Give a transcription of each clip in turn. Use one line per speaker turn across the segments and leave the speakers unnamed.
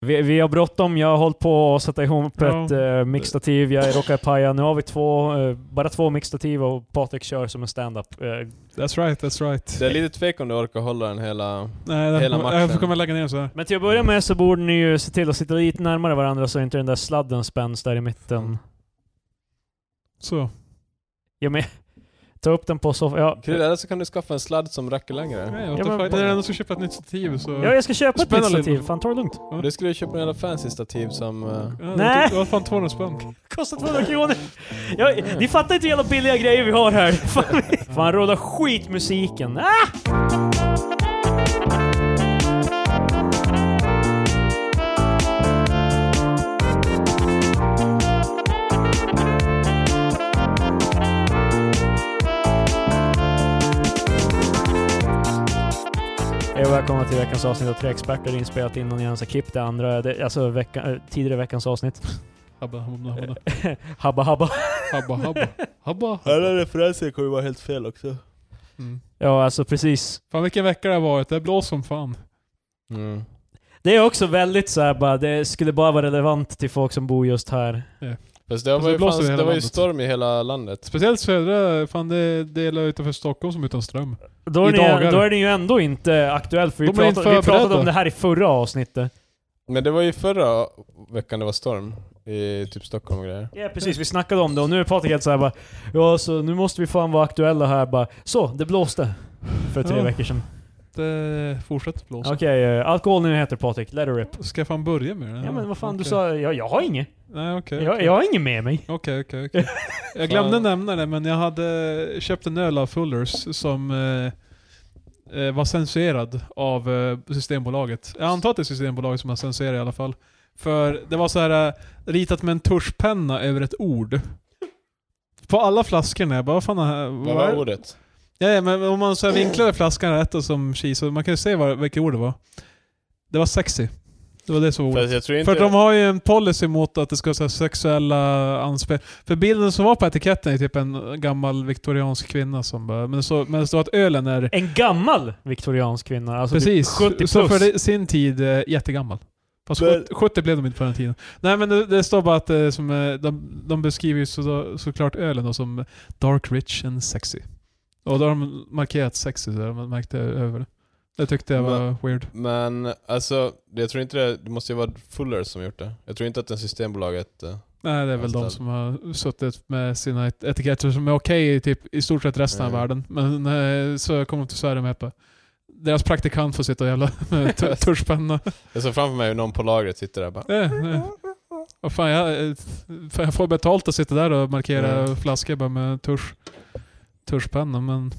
Vi, vi har bråttom, jag har hållit på att sätta ihop
Ja.
ett eh, mixtativ, jag råkar paja. Nu har vi två, eh, bara två mixtativ och Patrik kör som en stand-up. Eh,
That's right, that's right.
Det är lite tvek om du orkar hålla den hela...
Nej, det-
Hela matchen.
Jag kommer lägga ner så här.
men till att börja med så borde ni ju se till att sitta lite närmare varandra så inte den där sladden spänns där i mitten.
Så.
Ja, men, ta upp den på soffan. Ja.
Krille, eller så kan du skaffa en sladd som räcker längre.
Nej, what the
men-
fuck. Det är ändå som köpa ett nytt stativ så...
ja, jag ska köpa ett
Spänn lite.
mixtativ. Fan, ta det lugnt.
Du skulle ju köpa en jävla fancy stativ som... eh,
Ja, det
Nej.
tog- Det var fan 200 spänn.
Kostar 200 kronor. Ja, ni fattar inte hur jävla billiga grejer vi har här. Fan, vi- fan råda skitmusiken. Ah! Hej och välkomna till veckans avsnitt av Tre Experter, inspelat innan jag ens har klippt det andra, det, alltså vecka, eh, tidigare veckans avsnitt.
Habba, habba, habba.
Habba habba.
Habba, habba. Habba.
Alla referenser kommer vara helt fel också.
Mm.
Ja, alltså precis.
Fan vilken vecka det har varit. Det har blåst som fan.
Mm.
Det är också väldigt så här, bara, det skulle bara vara relevant till folk som bor just här.
Fast det var,
Fast det
ju,
blåser
fan,
i hela
det var ju
landet.
storm i hela landet.
Speciellt södra, fan det är delar utanför Stockholm som är utan ström.
Då är,
I
ni,
dagar.
då är det ju ändå inte aktuellt, för vi,
De är inte
pratade, vi pratade
förberedda.
om det här i förra avsnittet.
Men det var ju förra veckan det var storm i typ Stockholm och grejer.
Ja precis, vi snackade om det och nu är Patrik helt såhär bara Ja så nu måste vi fan vara aktuella här bara. Så, det blåste. För tre
Ja.
veckor sedan.
Det fortsätter blåsa.
Okej, eh, okay, alkoholnyheter Patrik. Let it rip.
Ska jag fan börja med det?
Ja men vad fan du
Okej.
sa, jag, jag har inget.
Nej okej.
Jag, jag har inget med mig.
Okej, okej, okej. Jag glömde nämna det, men jag hade köpt en öl av Fullers som eh, eh, var censurerad av eh, Systembolaget. Jag antar att det är Systembolaget som har censurerat i alla fall. För det var så här eh, ritat med en tuschpenna över ett ord. På alla flaskorna. Jag bara, vad fan är,
Vad var ordet?
Ja, ja, men om man så här vinklade flaskan rätt och som chi, så man kan ju se vad, vilket ord det var. Det var sexy. Det var det som var ordet.
Fast jag tror inte...
För de har ju en policy mot att det ska vara så här sexuella anspel. För bilden som var på etiketten är typ en gammal viktoriansk kvinna som bara, men så, men det står att ölen är
En gammal viktoriansk kvinna, alltså
Precis.
typ 70 plus.
Så för det- sin tid eh, jättegammal. Fast
Men-
70, 70 blev de inte på den tiden. Nej men det, det står bara att eh, som, eh, de, de beskriver ju så, såklart ölen då, som dark, rich and sexy. Och då har de markerat sexy så man märkte över det. Det tyckte jag var weird.
Men alltså, jag tror inte det, det måste ju vara Fuller som gjort det. Jag tror inte att den Systembolaget... eh,
Nej det är väl de
Anställd.
som har suttit med sina et- etiketter som är okej i typ, i stort sett resten av
Mm.
världen. Men eh, så kommer de till Sverige med på deras praktikant får sitta och jävla med tu- tuschpenna.
Jag såg framför mig hur någon på lagret sitter där och bara...
Eh, eh. Vad fan, jag, eh, fan, jag får betalt att sitta där och markera
Mm.
flaskor bara med tusch, tuschpenna. Men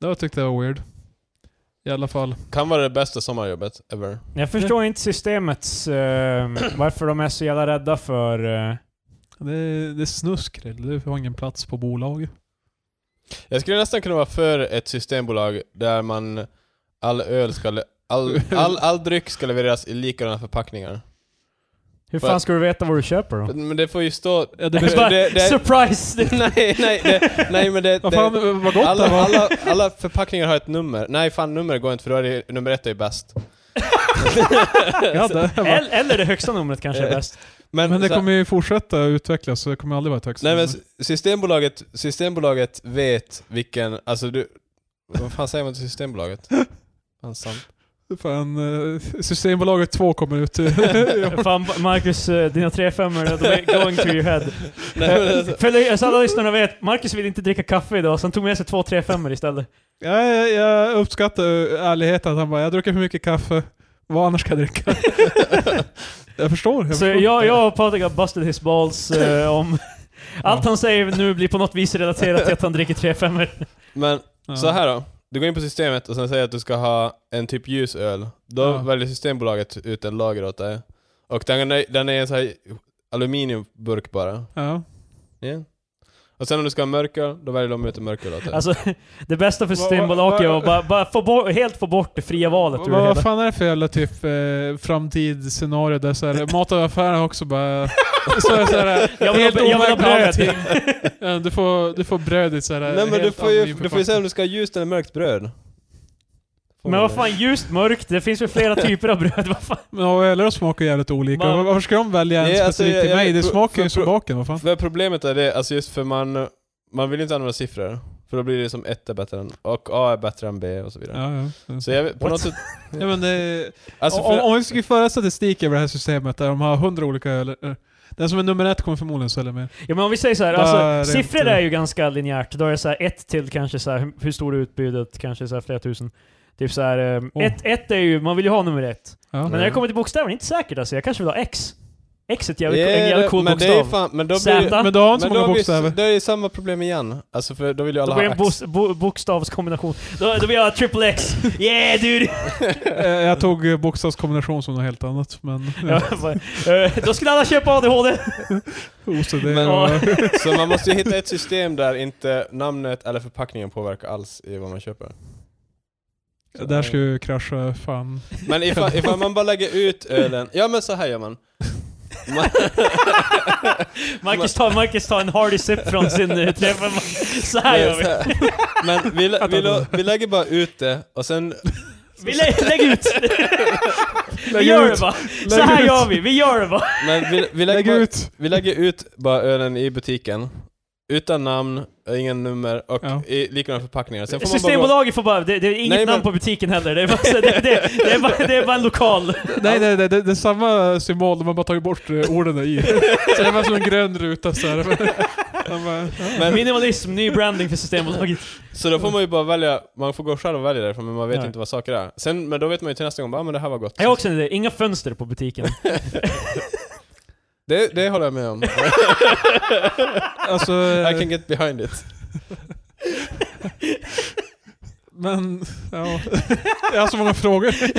det var- tyckte jag var weird. I alla fall.
Kan vara det bästa sommarjobbet ever.
Jag förstår inte systemets... eh, varför de är så jävla rädda för... eh,
Det, är- det är snusk Krill. Du har ingen plats på bolaget.
Jag skulle nästan kunna vara för ett systembolag där man... All öl ska... le- All, all, all dryck ska levereras i likadana förpackningar.
hur fan ska du veta vad du köper då?
Men det får ju stå...
Det
Ja, det,
är
Det-
bara,
det- det-
surprise! Det,
nej, nej, det, nej men det...
vad fan,
det
vad gott
alla,
det var.
alla, alla förpackningar har ett nummer. Nej fan, nummer går inte för då är det, nummer ett är ju bäst.
Ja, det var
eller, eller det högsta numret kanske är bäst.
Men,
Men det
så här-
kommer ju fortsätta utvecklas så det kommer aldrig vara ett högst.
Nej men systembolaget, systembolaget vet vilken, alltså du... Vad fan säger man till Systembolaget? Fan, sant.
Fan, eh, Systembolaget 2 kommer ut. Ja.
Fan Marcus, eh, dina tre femmor, de är going to your head. Eh,
Nej, men alltså,
För det- så alla lyssnarna vet, Marcus vill inte dricka kaffe idag, så han tog med sig två tre femmor istället.
jag, jag uppskattar ärligheten att han bara, jag dricker för mycket kaffe. Vad annars ska jag dricka? jag förstår. Jag
Så
förstår.
jag, jag och Patrik har busted his balls eh, om... Allt han säger nu blir på något vis relaterat till att han dricker tre femmor.
men
Ja.
så här då. Du går in på systemet och sen säger att du ska ha en typ ljus öl. Då
Ja.
väljer Systembolaget ut en lager åt dig. Och den, är- den är en sån här aluminiumburk bara.
Ja.
Ja. Och sen om du ska ha mörköl, då väljer de ut en mörköl åt dig.
Alltså, det bästa för
Vad-
Systembolaget är
vad-
att bara, bara få bort, helt få bort det fria valet ur
Vad,
det hela.
vad fan är det för jävla typ eh, framtidsscenario där så här, mataffären också bara... Så är det så här,
Jag vill ha-
helt
jag vill ha
overkligt
bröd.
allting. Ja, du, får, du får bröd i så här
Nej men du
helt
får ju,
anonym
du får ju
förpackning.
säga om du ska ha ljust eller mörkt bröd.
Men vad fan, ljust, mörkt, det finns ju flera typer av bröd. Vad fan?
Men öler smakar jävligt olika.
Man-
Var- Varför ska de välja en
Nej, alltså,
specifik
jag-
till
jag-
mig? Det
pro-
smakar ju
för-
som
pro-
baken, vad fan.
För problemet är det, alltså just för man, man vill ju inte använda siffror. För då blir det som ett är bättre än, och A är bättre än B och så vidare.
Ja, ja.
Så jag vet- på
What?
något sätt,
ja men det,
alltså
om,
för,
om vi skulle föra statistik över det här systemet där de har hundra olika öl. eh, Den som är nummer ett kommer förmodligen sälja mer.
Ja men om vi säger så här,
Bara
alltså,
rent- eh,
siffror är ju ganska linjärt. Då är det så här ett till kanske så här, hur- hur stor är utbudet? Kanske så här flera tusen. Typ så här, eh,
Oh.
ett, ett är ju, man vill ju ha nummer ett.
Ja.
Men när det kommer till bokstäver, det är inte säkert alltså. Jag kanske vill ha X. X är ett jävligt, en
yeah,
jävligt cool
men det är
bokstav.
fan, men då blir
Z.
Men du har inte så
men
många
då blir,
bokstäver.
det är ju samma problem igen. Alltså för då vill ju alla
Då blir det
ha
en
ax.
bos, bo, bokstavskombination. Då, då blir jag triple X. Yeah dude!
Eh, jag tog eh, bokstavskombination som något helt annat, men...
Ja,
Ja.
bara, eh, då skulle alla köpa ADHD.
OCD
Men-
och...
Så man måste ju hitta ett system där inte namnet eller förpackningen påverkar alls i vad man köper. Så-
Det här ska ju krascha fan.
Men ifall, ifall man bara lägger ut ölen, ja men så här gör man. man
Marcus tar, Marcus tar en hardy sip från sin eh, träff. Så här gör vi.
så här. Men vi, lä- vi, lå- vi lägger bara ut det och sen...
Vi lä lägger ut! vi
Lägg
gör
ut.
det bara! Så
Lägg
här
ut.
gör vi, vi gör det bara!
Men vi, vi, lägger
Lägg
bara,
ut!
vi lägger ut bara ölen i butiken. Utan namn, ingen nummer och
Ja.
i likadana förpackningar. Sen får man bara gå...
Systembolaget får bara, det, det är inget
Nej, men-
namn på butiken heller, det är bara, så- det, det, det är bara, det är bara en lokal.
Nej, nej, nej, det, det är samma symbol, de har bara tagit bort eh, orden där i. Så det var som en grön ruta så här. De bara, ja.
Men-
Minimalism, ny branding för Systembolaget.
Så
Mm.
då får man ju bara välja, man får gå själv och välja därifrån men man vet
Ja.
inte vad saker är. Sen, men då vet man ju till nästa gång, bara, "Ah, men det här var gott.
Jag har också en idé, inga fönster på butiken.
Det, det håller jag med om.
Alltså,
I can get behind it.
men... Ja. Jag har så många frågor. Jag vet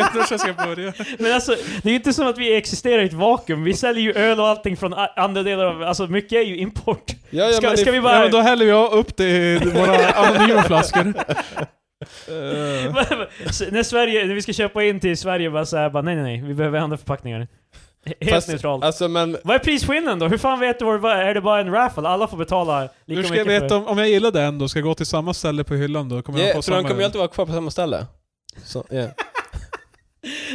inte hur jag ska börja.
Men alltså, det är ju inte som att vi existerar i ett vakuum, vi säljer ju öl och allting från a- andra delar av, alltså mycket är ju import.
Ja, ja,
Ska,
men
ska
if-
vi
Ja,
bara...
men då häller jag upp det i våra anonyma flaskor. Eh,
när, Sverige, när vi ska köpa in till Sverige bara såhär, bara nej nej nej, vi behöver andra förpackningar. Helt
Fast-
neutralt.
Alltså men,
Vad är prisskillnaden då? Hur fan vet du vad det var? Är det bara en raffle? Alla får betala lika
Hur ska jag
mycket
veta
för...
om, om jag gillar den då? Ska jag gå till samma ställe på hyllan då? Kommer jag
yeah,
få
för de
samma?
kommer ju alltid vara kvar på samma ställe. Så, yeah.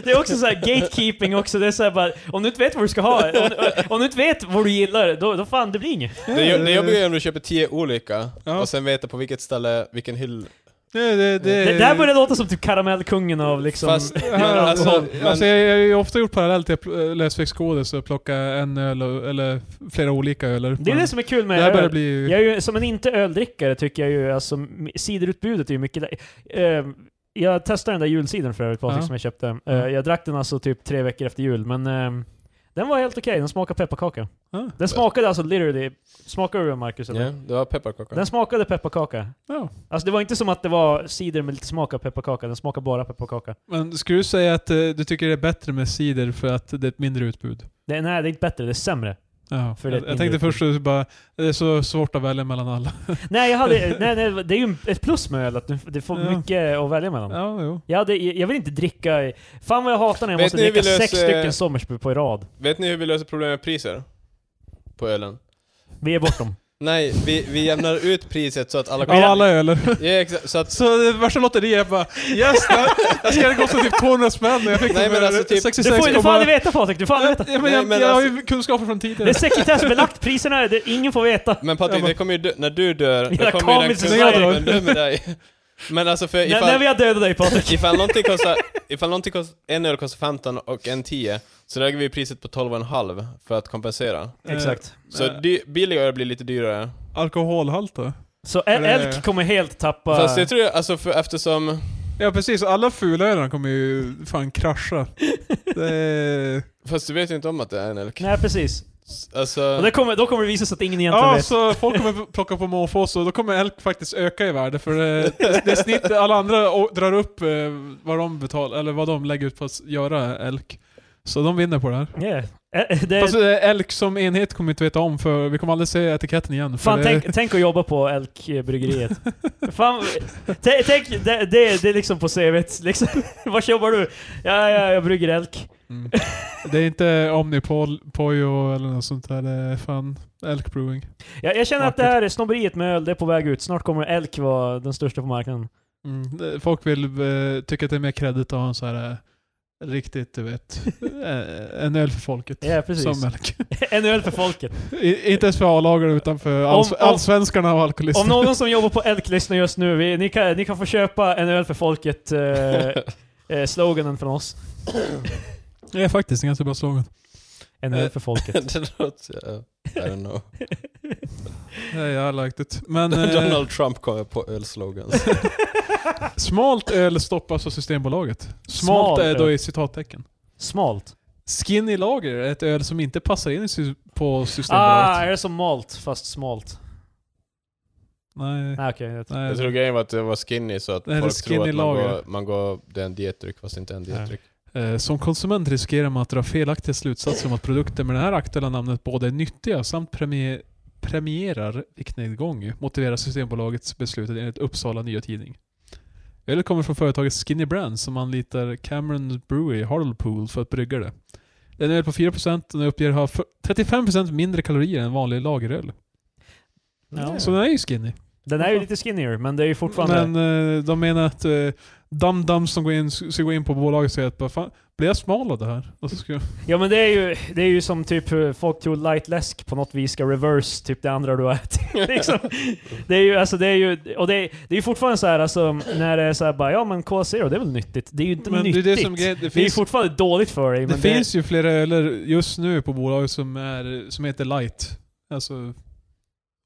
Det är också så här gatekeeping också, det är så här bara, om du inte vet vad du ska ha, om, om du inte vet vad du gillar, då, då fan det blir inget.
det, jo- det jobbiga är om du köper tio olika
Ja.
och sen veta på vilket ställe, vilken hyll.
Nej, det, det,
Det där börjar låta som typ karamellkungen av liksom...
Fast, men,
Ja,
alltså,
alltså,
men,
jag, jag har ju ofta gjort parallellt till jag läste Fexcodes och plocka en öl och, eller flera olika öler.
det är det som är kul
det
med
här börjar
öl.
bli...
Jag är ju, som en inte öldrickare tycker jag ju, alltså m- ciderutbudet är ju mycket... Eh, jag testade den där julcidern för övrigt Patrik,
Ja.
som jag köpte. Eh, jag drack den alltså typ tre veckor efter jul, men eh, den var helt okej, den smakade pepparkaka.
Ja.
Den smakade alltså literally... Smakade du den Marcus? Eller?
ja, du har pepparkakor.
Den smakade pepparkaka.
Ja.
Alltså det var inte som att det var cider med lite smak av pepparkaka, den smakade bara pepparkaka.
Men skulle du säga att eh, du tycker det är bättre med cider för att det är ett mindre utbud?
Det, nej, det är inte bättre, det är sämre.
Ja.
För
Jag,
det är ett
jag
mindre
tänkte först att bara, det är så svårt att välja mellan alla.
Nej, jag hade, nej, nej, det är ju en- ett plus med öl, att du, du får
Ja.
mycket att välja mellan.
Ja, jo.
Jag, hade, jag vill inte dricka... i- Fan vad jag hatar när jag
Vet
måste
ni hur
dricka
vi
sex
löser-
stycken Sommersby på i rad.
Vet ni hur vi löser problem med priser? På ölen?
Vi ger bort dem.
Nej, vi, vi jämnar ut priset så att alla
Av alla öler.
Ja, exakt, så att,
Så det värsta lotteriet är bara yes, nej, jag ska gå så typ 200 spänn och jag fick
Nej,
dem
men
för
alltså typ-
Du
66,
får, du får
komma-
aldrig veta Patrik, du får aldrig veta.
Ja, men
Nej,
jag,
men
jag har
alltså-
ju kunskaper från tidigare.
Det är sekretessbelagt, priserna, är- det, ingen får veta.
men Patrik,
Ja, men-
det kommer ju dö, när du dör,
Jävla
då kommer ju den
komiskt
att säga.
kunskapen dö med dig. Men alltså för
När,
ifall...
när vi har dödat dig Patrik.
Ifall någonting kostar, ifall någonting kostar, en öl kostar 15 och en 10, så lägger vi priset på 12,5 för att kompensera.
Eh,
Exakt.
Så
Eh.
dy, billiga öl blir lite dyrare.
Alkoholhalt då?
Så el-
det-
Elk kommer helt tappa...
Fast det tror jag, alltså för, eftersom...
Ja precis, alla fula ölen kommer ju fan krascha. Det är...
Fast du vet ju inte om att det är en elk.
Nej precis.
Alltså...
Och det kommer, då kommer det visa sig att ingen egentligen
Ja,
vet.
så folk kommer plocka på måfå så då kommer elk faktiskt öka i värde för eh, det, det snitt, alla andra å- drar upp eh, vad de betalar, eller vad de lägger ut på att göra elk. Så de vinner på det här.
Yeah. Eh, Det,
Fast eh, elk som enhet kommer vi inte veta om för vi kommer aldrig se etiketten igen. För
fan,
det,
tänk, tänk att jobba på Elkbryggeriet. fan, t- tänk, det, det, det är liksom på CVt. Liksom. Var jobbar du? Ja, ja, jag brygger Elk.
Mm. det är inte Omnipol, Pojo eller något sånt där. Det är fan elk brewing.
Jag, jag känner att det här är snobberiet med öl, det är på väg ut. Snart kommer Elk vara den största på marknaden.
Mm. det- Folk vill eh, tycka att det är mer kredit att ha en så här eh, riktigt, du vet, eh, en öl för folket.
Ja, precis.
Som mjölk.
En öl för folket.
I- Inte ens för A-lagare utan för alls-
Om- om-
allsvenskarna och alkoholisterna.
Om någon som jobbar på Elk lyssnar just nu, vi, ni, kan, ni kan få köpa en öl för folket eh, eh, sloganen från oss.
Det är faktiskt en ganska bra slogan.
En öl för folket.
det låter... Uh, I don't know.
Ja, jag liked it. Men eh,
Donald Trump kommer på ölslogans.
smalt öl stoppas av Systembolaget. Smalt,
Smalt
är då
öl.
i citattecken.
Smalt.
Skinny lager är ett öl som inte passar in i sy- på Systembolaget.
Ah, är det som malt fast smalt?
Nej.
Nej okej. jag tror-
Nej.
Jag tror grejen var att det var skinny så att
Det här är
folk tror
skinny
att man
lager.
går, man går, det är en dietdryck fast det inte är en dietdryck.
Eh, Som konsument riskerar man att dra felaktiga slutsatser om att produkter med det här aktuella namnet både är nyttiga samt premie- premierar viktnedgång, motiverar Systembolagets beslut enligt Uppsala Nya Tidning. Ölet kommer från företaget Skinny Brands som anlitar Cameron Brewery i Hartlepool för att brygga det. Den öl på 4% och den uppger ha f- 35% mindre kalorier än vanlig lageröl.
Ja.
Så den är ju skinny.
Den är ju lite skinnier, men det är ju fortfarande...
Men eh, de menar att eh, dum-dums som går in, ska gå in på bolaget och säga att bara, fan, blir jag smal av det här? Och så ska
Ja men det är ju, det är ju som typ eh, folk tror light läsk på något vis ska reverse typ det andra du har ätit. liksom. Det är ju, alltså det är ju, och det är, det är ju fortfarande så här alltså, när det är så här bara ja men Cola Zero det är väl nyttigt? Det är ju inte
Men det är
nyttigt.
det som är grejen. Det
Det är ju
finns, det
fortfarande dåligt för dig. men det,
finns ju flera öler just nu på bolaget som, är, som heter light. Alltså,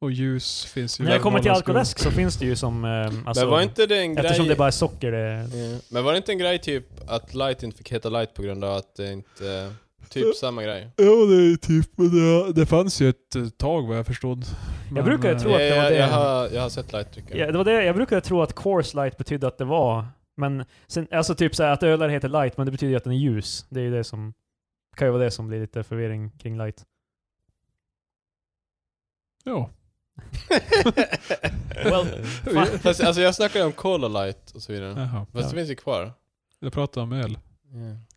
och ljus finns ju.
när det kommer till
Varmhållare skulle-
alkoläsk så finns det ju som, eh, alltså,
Men var inte det en grej...
eftersom det bara är socker eh. det...
Ja. Men var det inte en grej typ att light inte fick heta light på grund av att det inte... eh, Typ samma grej.
Ja, det är typ. Men det, det fanns ju ett eh, tag vad jag förstod. Men,
brukar ju
eh,
tro
Jag,
att det var
jag,
det.
jag, har, jag har sett light dricka.
Ja, det var det, jag brukade tro att course light betydde att det var, men sen, alltså typ så här att ölen heter light men det betyder ju att den är ljus. Det är ju det som, kan ju vara det som blir lite förvirring kring light.
Ja.
Well, fan.
Fast, alltså jag snackade om cola light och så vidare.
Jaha.
Fast
Ja.
det finns ju kvar.
Jag pratar om öl.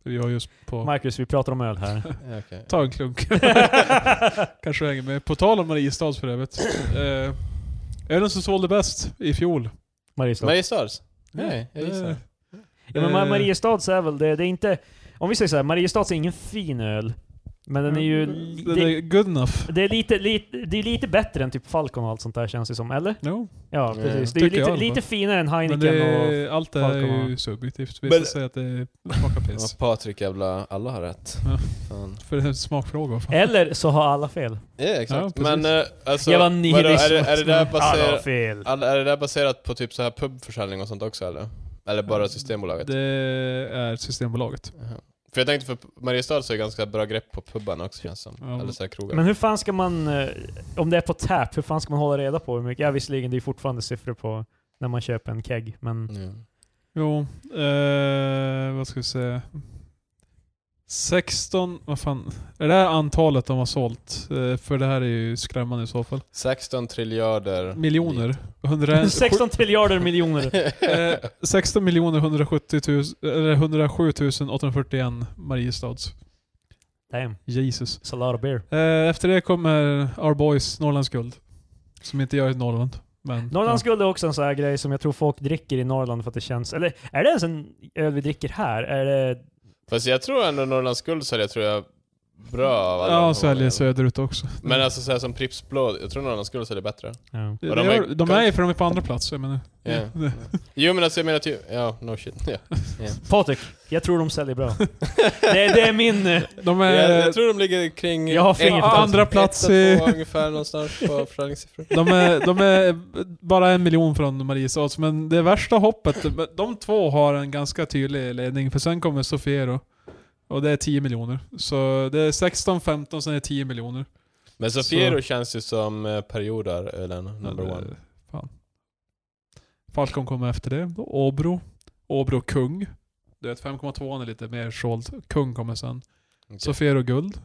Vi har just på...
Marcus, vi pratar om öl här.
Ja, okej.
Ta en klunk. Kanske hänger med. På tal om Mariestads för övrigt. Eh, ölen som sålde bäst i fjol.
Mariestad.
Mariestads? Nej, jag
Eh,
gissar.
ja, men Ma-
eh,
Mariestads är väl det, det är inte... Om vi säger så här, Mariestads är ingen fin öl. Men den är ju... li-
Mm. Den är good enough.
det, det, är lite, lite, det är lite bättre än typ Falcon och allt sånt där känns det som, eller?
Jo.
Ja,
Nej.
precis. Det är ju
Tycker jag
lite,
i alla fall.
lite finare än
Men
Heineken
det,
och...
är- allt det här är ju
Falcon.
subjektivt. Vissa
Men-
säger att det smakar
Ja,
piss.
Patrik jävla, alla har rätt.
Ja.
Fan.
För det är en smakfråga. vad fan.
Eller så har alla fel.
Ja, exakt.
precis.
Men eh, alltså,
Jävla
vadå, är, det, är, det där
nihilism. Alla har
baserat,
fel.
Ah,
all, är det där baserat på typ så här pubförsäljning och sånt också eller? Eller bara Systembolaget?
Det är Systembolaget.
Jaha. För jag tänkte för Mariestad så är det ganska bra grepp på pubbarna också känns som.
Ja.
Eller så här krogar.
Men hur fan ska man, eh, om det är på tap, hur fan ska man hålla reda på hur mycket? Ja visserligen, det är fortfarande siffror på när man köper en keg, men...
Ja.
Jo, eh, vad ska vi säga? 16, vad fan? Är det här antalet de har sålt? Eh, för det här är ju skrämmande i så fall.
16 triljarder.
Miljoner. 100,
16 triljarder miljoner.
eh, 16 miljoner 170 000, eller 107 841 Mariestads.
Damn,
Jesus.
it's a lot of beer.
Eh, efter det kommer Our Boys Norrlands guld. Som inte jag är i Norrland. Men,
Norrlands guld är också en sån här grej som jag tror folk dricker i Norrland för att det känns... Eller är det ens en öl vi dricker här? Är det...
Fast jag tror ändå Norrlands guld säljer tror jag bra av alla.
Ja,
de
och säljer
här.
söderut också.
Men alltså så här, som Pripps blå, jag tror Norrlands guld säljer bättre.
Ja.
de,
och
de,
de
är,
är-
de är ju för de är på andra plats, jag menar.
Ja.
Det-
Jo men alltså jag menar typ, ja no shit. Ja.
Patrik, jag tror de säljer bra. det, det är min... eh,
De är,
Jag, jag tror de ligger kring
Jag har fingret
ett-
på
andra
ett
plats
och
i-
två ungefär någonstans på försäljningssiffror.
de, är, de är bara en miljon från Mariestads, men det värsta hoppet, de två har en ganska tydlig ledning, för sen kommer Sofiero. Och det är 10 miljoner. Så det är 16, 15, sen är det 10 miljoner.
Men Sofiero känns ju som eh, perioder ölen number
Eh,
one.
Fan. Falcon kommer efter det. Då Åbro. Åbro Kung. Du vet 5,2 är lite mer såld. Kung kommer sen.
Okej.
Sofiero Guld.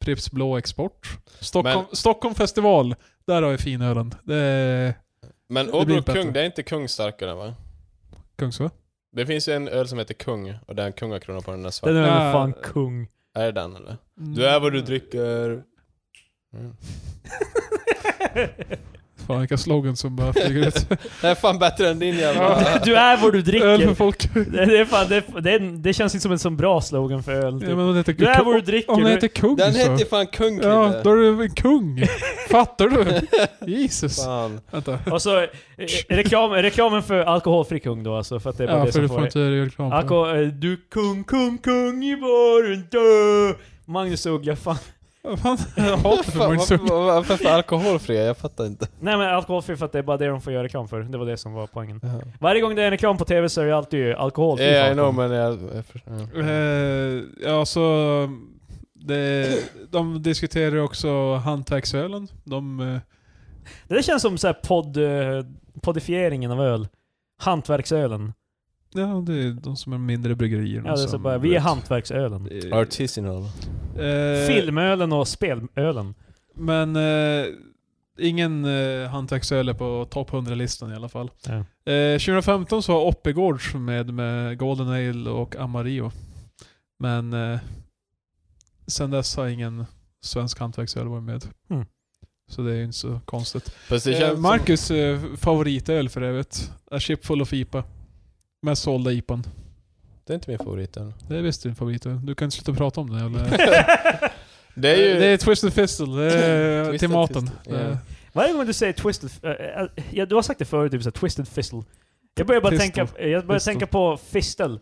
Pripps Blå Export. Stockholm,
Men-
Stockholm Festival. Där har vi finölen. Det är
Men
det blir
Åbro
inte bättre.
Kung, det är inte Kung starkare va?
Kungsö. Det
Det finns ju en öl som heter Kung och det är en kungakrona på den där
Den
svarta.
är
Ja.
väl fan kung.
Är det den eller? Du är vad du dricker. Mm.
Fan vilka slogans som bara flyger ut.
Det här är fan bättre än din jävla...
Du är vad du
Öl för
dricker.
folk.
Det, det, är fan, det, det, det känns inte som en sån bra slogan för öl.
Ja, men
Typ.
hon heter,
Du är vad du
om
dricker.
den
Du,
heter kung
Den
så.
hette ju fan kung Krille.
Ja, då är du en kung. Fattar du? Jesus.
Fan.
Vänta.
och så eh, reklam, reklamen för alkoholfri kung då alltså, för att det är bara
Ja,
det
för
som
du
får
får
det.
inte göra reklam för
Alko, eh, du kung, kung, kung i baren, dö! Magnus Uggla, fan.
den. Vad fan? Jag hatar
Fan,
för Magnus
varför,
Uggla.
var- varför för alkoholfria? Jag fattar inte.
Nej men alkoholfri för att det är bara det de får göra reklam för. Det var det som var poängen. Varje gång det är en reklam på TV så är det alltid alkoholfri.
Yeah, I
bakom.
know men jag... jag förstår.
Eh, Ja, så... mm, Det, de diskuterar ju också hantverksölen. De... eh,
Det där känns som så här podd, eh, poddifieringen av öl. Hantverksölen.
Ja, det är de som är mindre bryggerierna
Ja, det är så
som...
bara, vi är hantverksölen.
Eh,
Artisanal.
eh,
Filmölen och spelölen.
Men eh, ingen eh, hantverksöl är på topp 100-listan i alla fall.
Ja.
Eh, 2015 så var Oppegårds med med Golden Ale och Amarillo. Men eh, sen dess har ingen svensk hantverksöl varit med.
Mm.
Så det är ju inte så konstigt.
Fast det
Eh,
känns
Marcus eh, favoritöl för övrigt. A Ship Full of IPA. Mest sålda IPAn.
som, Det är inte min favorit än.
Det är visst din favoritöl. Du kan inte sluta prata om den jävla...
Det är ju...
Det är Twisted Fistle. Det är
Twisted
till maten.
Fistle,
Det är-
ja.
Varje gång du säger twisted... eh, eh, ja, du har sagt det förut, typ så här, twisted fistel. Jag börjar bara
Fistel.
tänka, jag börjar
Fistel.
tänka på fistel.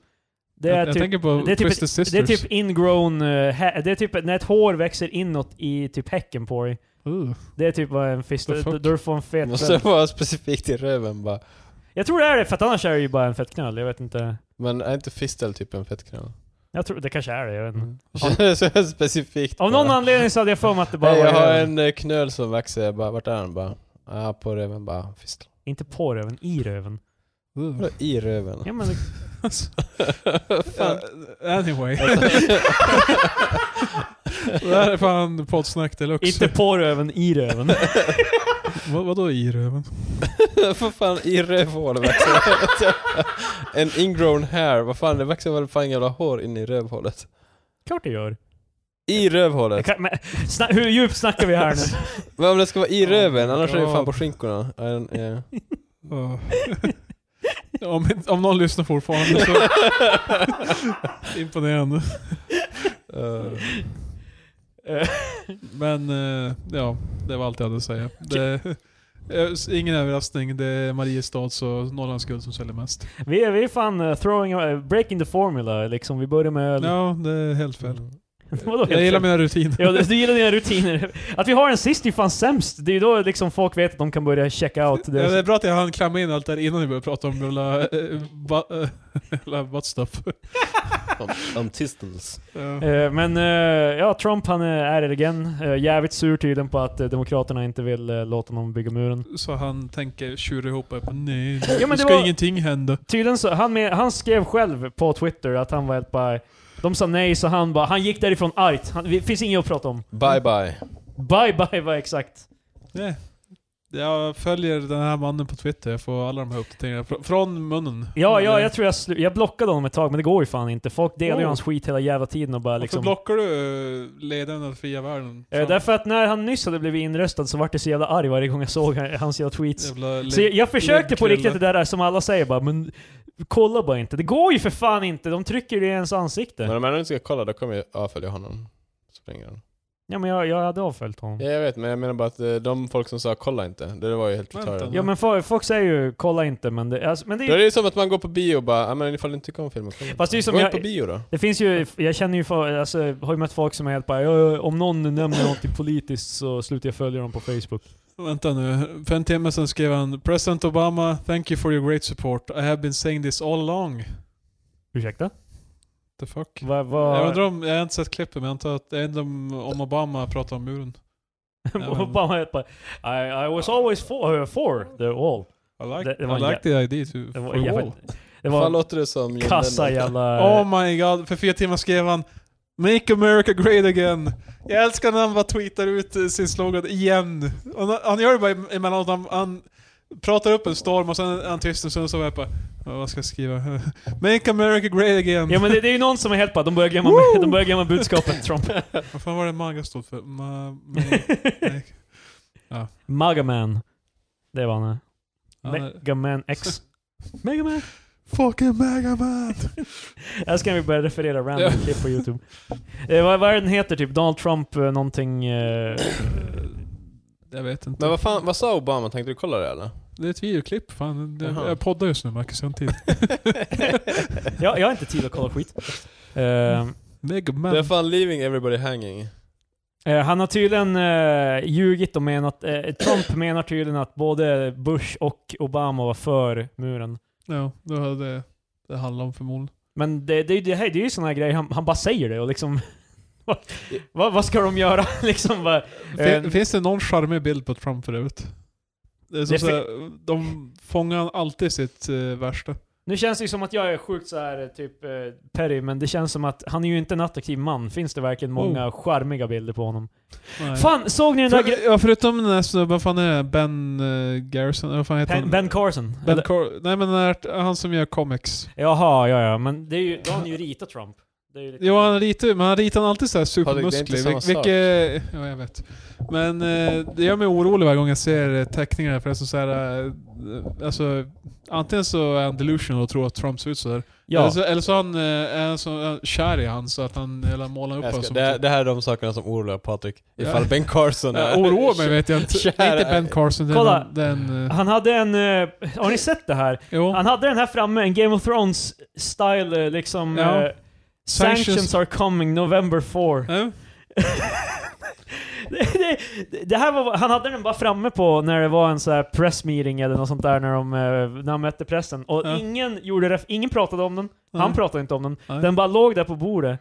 Det
jag,
är
jag
typ
tänker på
det är typ
Twisted Sisters.
Det är typ ingrown, eh, hä- det är typ när ett hår växer inåt i typ häcken på dig.
Uh.
Det är typ vad en fisk,
The fuck?
då, då du får en fet
Måste
Måste...
vara specifikt i röven bara.
Jag tror det är det, för att annars är det ju bara en fett knöl, jag vet inte.
Men är inte fistel typ en fettknöl?
Jag tror, det kanske är det, jag vet inte.
Mm.
Känns så specifikt
Av någon
bara.
anledning så hade jag för mig att det bara
Hej,
var
jag har
röven.
en eh, knöl som växer, jag bara, vart är den? Bara, ah, på röven, bara, fistel.
Inte på röven, i röven.
Uh.
Vadå I röven?
Ja, men,
Fan.
Eh, anyway. det här är fan poddsnack deluxe.
inte på röven, i röven.
Vad, vadå i röven?
Vad fan, i rövhålet växer En ingrown hair, vad fan, det växer väl fan jävla hår in i rövhålet?
Klart det gör.
I
Jag
rövhålet?
Kan, men, sna, hur djupt snackar vi här nu?
Men om det ska vara i
Oh
röven,
my
annars är det
God.
fan på skinkorna. I don't- yeah.
Uh. om, om någon lyssnar fortfarande så... Imponerande.
Eh,
Eh,
Men eh, ja, det var allt jag hade att säga. Det, eh, s- ingen överraskning, det är Mariestads och Norrlands guld som säljer mest.
vi, är, vi är fan eh, throwing, eh, breaking the formula liksom. Vi börjar med öl.
Ja, det är helt fel.
Vadå, helt
Jag gillar
fel?
mina rutiner.
Ja, du du gillar dina rutiner. Att vi har en sist är ju fan sämst. Det är ju då liksom folk vet att de kan börja checka out.
Det är, det
Det.
är bra att jag hann klämma in allt där innan vi började prata om jävla... eh, ba- eh, jävla butt stuff.
om- Om tistles.
Ja.
Eh, Men eh, ja, Trump han eh, är det igen. Eh, Jävligt sur tydligen på att eh, Demokraterna inte vill eh, låta någon bygga muren.
Så han tänker tjura ihop och bara, nej,
Ja, men
nu
det
ska
var-
ingenting hända.
Tydligen så, han, med, han skrev själv på Twitter att han var helt bara... De sa nej, så han bara, han gick därifrån argt. Han, det finns inget att prata om.
Bye bye.
Bye bye var exakt.
Nej. Jag följer den här mannen på Twitter, jag får alla de här uppdateringarna fr- från munnen.
Ja, ja jag tror jag, slu- jag blockade honom ett tag, men det går ju fan inte. Folk delar ju
Mm. Oh.
hans skit hela jävla tiden och bara
Varför
liksom...
blockar du eh, ledaren av fria världen?
Eh, därför att när han nyss hade blivit inröstad så vart jag så jävla arg varje gång jag såg han- hans jävla tweets.
Jävla le-
Så jag, jag försökte på
Lillkrulle.
riktigt det där som alla säger bara, men kolla bara inte. Det går ju för fan inte, de trycker ju i ens ansikte.
Men om jag nu inte ska kolla, då kommer jag avfölja honom. Springer han.
Ja men jag, jag hade avföljt honom.
Ja, jag vet, men jag menar bara att eh, de folk som sa kolla inte, det var ju helt
Vänta
retarded.
nu.
Ja men fo- folk säger ju kolla inte men det, alltså, men det,
Då är
är-
det ju som att man går på bio och bara, "Ah, men ifall du inte tycker om filmen, kolla inte."
Fast det är ju som
Gå
jag-
inte på bio då.
det finns ju, jag känner ju, för, alltså, jag har ju mött folk som är helt bara, "Ja, om någon nämner någonting politiskt så slutar jag följa dem på Facebook.
Vänta nu, för en timme sedan skrev han President Obama, thank you for your great support. I have been saying this all along.
Ursäkta?
The fuck?
Va,
Jag
va,
undrar om, jag har inte sett klippet men jag antar att det är ändå om om Obama pratar om muren.
Obama är helt bara, I, I was always for, for the wall.
I like,
Det- det var
I
en
like the idea to
Det var,
for
jävla-
wall.
det
Fan
var
låter det som John
kassa
Lennon.
jävla...
Oh my god, för fyra timmar skrev han Make America Great Again. Jag älskar när han bara tweetar ut eh, sin slogan igen. Och han- han gör det bara emellanåt, han, han pratar upp en storm och sen är han tyst och sen så är jag bara "Ja, Vad ska jag skriva? Make America Great Again.
Ja men det, det är ju någon som är helt bara, de börjar glömma, de börjar glömma budskapet Trump.
Vad fan var det MAGA stod för? Ma, ma, make.
Magaman. Det var han. eh.
Han är-
Mega Man X. Mega Man.
Fucking Megaman!
Jag ska vi börja referera random
Ja.
klipp på youtube. Eh, vad, vad är den heter? Typ Donald Trump eh, någonting... Eh,
Jag vet inte.
Men vad fan, vad sa Obama? Tänkte du kolla det eller?
Det är ett videoklipp. Fan. Det-
Jaha.
Jag poddar just nu Marcus, jag har inte tid.
jag, jag har inte tid att kolla skit. Eh,
Megaman.
Det är fan leaving everybody hanging.
Eh, han har tydligen eh, ljugit och menat... Eh, Trump menar tydligen att både Bush och Obama var för muren.
Ja, det var det det handlar om förmodligen.
Men det, det, det, här, det är ju såna här grejer, han, han bara säger det och liksom... vad, vad, vad ska de göra? liksom bara,
Fin,
Eh,
finns det någon charmig bild på Trump förut? Det är som
Det fin-
såhär, de fångar alltid sitt eh, värsta.
nu känns det ju som att jag är sjukt så här eh, typ eh, Perry, men det känns som att han är ju inte en attraktiv man. Finns det verkligen många charmiga bilder på honom?
Oh. Nej.
Fan, såg ni den där
För,
gre-
ja, förutom den här snubben, vad fan är det? Ben eh, Garrison? Vad fan heter
Ben,
han?
ben Carson?
Ben
Eller-
Cor- Nej men den här, han som gör comics.
Jaha, ja ja, men det är ju, då har han ju ritat Trump. Det är ju lite...
Jo han ritar ju, men han ritar alltid såhär
det är inte
supermusklig.
samma
Vil-
sak.
vilket, ja jag vet. Men eh, det gör mig orolig varje gång jag ser eh, teckningar för det är så såhär, eh, alltså antingen så är han delusional och tror att Trump ser ut sådär. Eller,
ja.
så, eller så han, eh, är han så eh, kär i han så att han eller målar upp
Jag
honom
ska,
som...
typ.
typ-
det, det här är de sasakerna som oroar Patrik. Ifall
Ja.
Ben Carson är...
jag Eh, oroar mig vet jag inte. Det
Kär-
är inte Ben Carson, det är
Kolla.
någon- det är en... eh,
Han hade en... eh, har ni sett det här?
Jo.
Han hade den här framme, en Game of Thrones-style eh, liksom...
Ja.
eh, sanctions.
Sanctions.
are coming November 4.
Ja.
det, det, det här var, han hade den bara framme på när det var en så här press meeting eller något sånt där när, de, eh, när han mötte pressen. Och
Ja.
ingen, gjorde ref, ingen pratade om den, han
Nej.
pratade inte om den.
Nej.
Den bara låg där på bordet.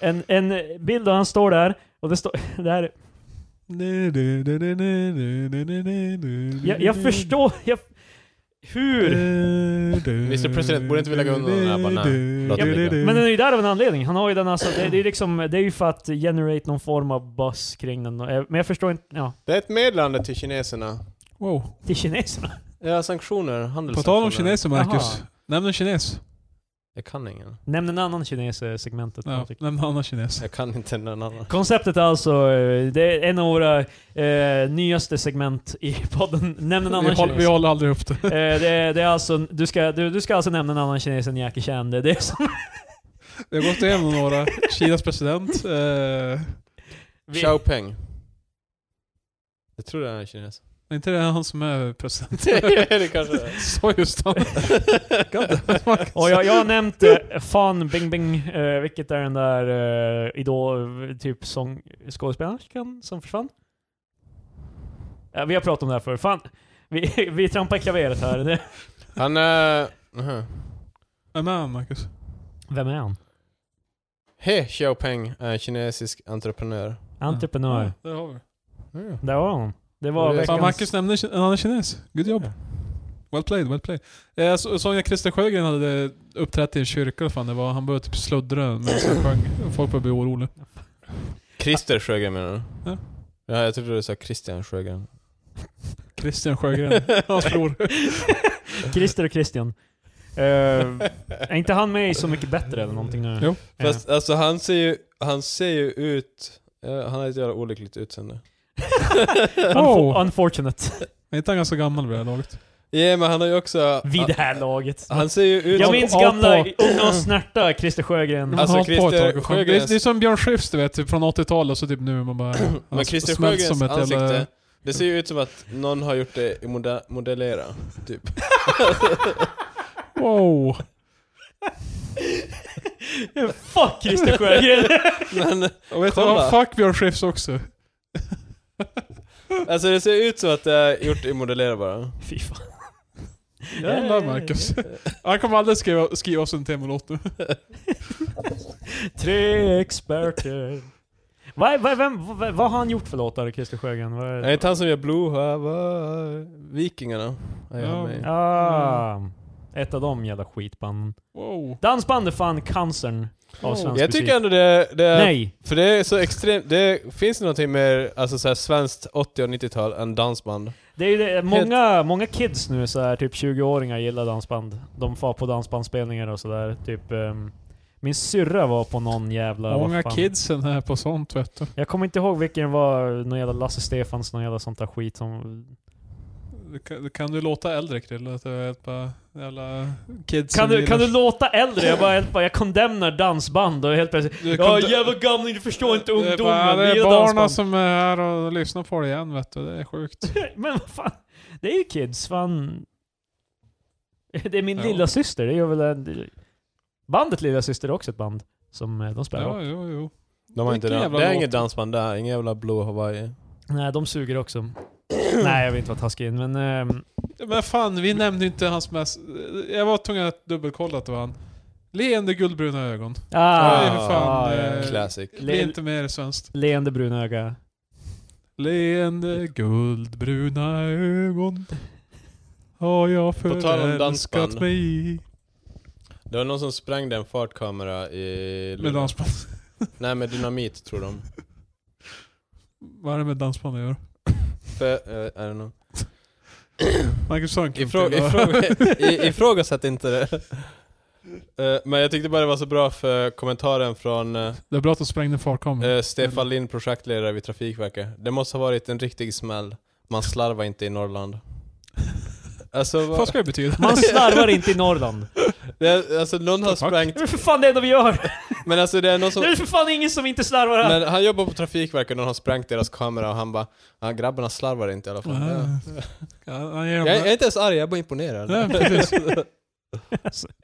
En, en bild av han står där, och det står... Det här, jag, jag förstår... Jag, hur?
Eh.
Mr. President, borde inte vi lägga undan den här? Bara, nej, låt
Ja,
det ligga.
Men den är ju där av en anledning. Han har ju den alltså, det, det, är liksom, det är ju för att generate någon form av buzz kring den. Eh, Men jag förstår inte, ja,
Det är ett meddelande till kineserna.
Wow.
till kineserna.
Era sanktioner,
På
handelssanktioner.
tal om kineser Marcus.
Jaha.
Nämn en kines.
Jag kan ingen.
Nämn en annan kines eh, segmentet.
Ja,
Patrik.
nämn en annan kines.
Jag kan inte någon annan.
Konceptet är alltså, eh, det är en av våra eh, nyaste segment i podden. Nämn en
Vi,
annan
håller, vi
kines.
håller aldrig upp det.
Eh, det, är- det är alltså, du, ska, du, du ska alltså nämna en annan kines än Jackie Chan. Det är det som
Vi har gått igenom några. Kinas president. Eh,
vi,
Xiaopeng. Jag tror det är en kines.
är inte det han som är president?
det kanske det är.
Så just han.
Och jag, jag har nämnt eh, Fan Bing Bing, eh, vilket är den där eh, idol, typ sång, skådespelerskan som försvann. Ja, vi har pratat om det här förr. Fan, vi, vi trampar i klaveret här. Det,
Han är... Uh,
Vem är han Marcus?
vem är han?
He Xiaopeng är en kinesisk entreprenör. Mm.
Entreprenör.
Ja, det har vi.
Där var hon. Det var
Fan,
Fan,
veckans...
Marcus nämnde ki- en annan kines. Good job. Well played, well played. Eh, så- Sonja Christer Sjögren hade uppträtt i en kyrka eller fan det var. Han började typ sluddra medan han sjöng. Folk började bli oroliga.
Christer Sjögren menar du?
Ja.
Ja, jag trodde du sa Christian Sjögren.
Christian Sjögren, hans bror.
Christer och Christian. Eh, är inte han med i Så Mycket Bättre eller någonting nu?
Jo.
Eh,
Fast alltså han ser ju, han ser ju ut... eh, han har ett jävla olyckligt utseende.
unfo- Unfortunate.
Är inte han ganska gammal vid det här laget?
Ja men han har ju också...
Vid det här
han-
laget.
Han ser ju ut
Jag
som...
minns
Av-
gamla
avpå.
Unga och snärta, Christer Sjögren.
Alltså,
Han har hållit på ett
Christer
tag.
Sjögrens-
Det är, det är som Björn Skifs du vet, typ från 80-talet och så typ nu man bara...
Men
han
Christer
smält
Sjögrens
som ett
ansikte,
jävla-
det ser ju ut som att någon har gjort det i moda- modellera, typ.
Wow!
Fuck Christer Sjögren!
Men
Och vet du
Kolla.
vad? Fuck Björn Skifs också.
alltså det ser ut som att det är gjort i modellera bara.
Fy fan.
Jävlar Marcus. Han kommer aldrig skriva, skriva oss en temalåt nu.
Tre experter. Vad, vad, vem, vad, vad har han gjort för låtar, Christer Sjögren? Vad
Är
är-
det inte han som gör Blue Hava... Vikingarna? Ja, jag
Ja.
har med.
Ah, ett av de jävla skitbanden.
Wow.
Dansbandet fan cancern av
Oh.
svensk
Jag tycker
musik.
ändå det, det är...
Nej!
För det är så extremt... Det finns någonting mer alltså så här, svenskt 80 och 90-tal än dansband.
Det är ju det, många, många kids nu, så här, typ 20-åringar, gillar dansband. De far på dansbandsspelningar och sådär. Typ, ehm, min syrra var på någon jävla... vad
Många
fan-
kidsen här på sånt vet du.
Jag kommer inte ihåg vilken det var, någon jävla Lasse Stefans någon jävla sånt där skit som...
Kan, kan du låta äldre Krille? Att jag är ett par jävla kids
Kan
som
du, kan du
gillar-
låta äldre? Jag bara, helt bara jag condemnar dansband och helt plötsligt
Du
Ja
kan-
jävla gamling, du förstår inte
Det är bara-
ungdomen,
Det
vi
är
gillar
barnen
dansband.
som är här och lyssnar på det igen vet du. Det är sjukt.
Men vad fan, det är ju kids, fan. Det är min
Ja.
lilla syster, det gör väl en... Bandet Lilla Syster är också ett band som eh, de spelar rock.
Ja, jo, jo.
De har inte
Vilken
dans.
jävla
Det är
låt.
inget dansband där, ingen jävla blå Hawaii.
Nej, de suger också. Nej, jag vill inte vara taskig, men... ehm,
Men fan, vi nämnde ju inte hans mest... Jag var tvungen att dubbelkolla att det var han. Leende guldbruna ögon.
ah,
det är för
fan,
ah,
eh,
ja.
Classic.
Det
Le-
blir inte mer svenskt.
Leende bruna öga.
Leende guldbruna ögon har jag
tal om dansband.
förälskat mig i.
Det var någon som sprängde en fartkamera i...
Med dansband.
Nej, med dynamit tror de.
Vad är det med dansband jag gör?
För, eh, I don't know.
Marcus Sönk.
Ifrå- ifråga- i- Ifrågasätt inte det. Eh, Men jag tyckte bara det var så bra för kommentaren från eh,
Det är bra att de sprängde farkameran.
eh, Stefan Lind, projektledare vid Trafikverket. Det måste ha varit en riktig smäll. Man slarvar inte i Norrland. Alltså,
Vad
vad,
ska det betyda?
Man slarvar inte i Norrland.
det är, alltså någon har
Fuck.
sprängt,
Det är för fan det enda vi gör!
men alltså det är någon som...
Det är för fan ingen som inte slarvar här!
Men han jobbar på Trafikverket och någon har sprängt deras kamera och han bara ah, grabbarna slarvar inte i alla fall.
Ah.
Ja.
Ja, han ger dem
Jag, jag är inte ens arg, jag är bara imponerad.
Ja, precis.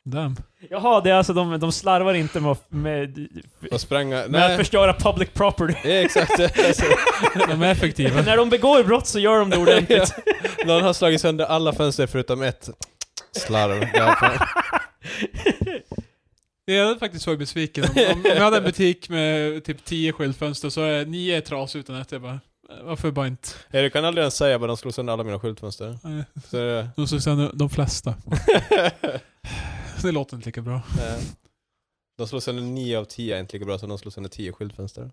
Damn.
Jaha, det är alltså de, de slarvar inte med, att- med,
Och spränga,
med att
nej.
förstöra public property.
Ja, exakt. Alltså,
De är effektiva.
När de begår brott så gör de det ordentligt.
någon har slagit sönder alla fönster förutom ett. Slarv. grabbar.
Jag är faktiskt så besviken. Om, om, om jag hade en butik med typ 10 skyltfönster så är 9 trasiga utan ett. Jag bara, varför bara inte?
Ja, du kan aldrig ens säga bara de slog sönder alla mina skyltfönster.
Nej.
Så, det-
De såg sen de flesta. Det låter inte lika bra.
eh, de slog sönder 9 av 10 är inte lika bra som de slog sönder 10 skyltfönster.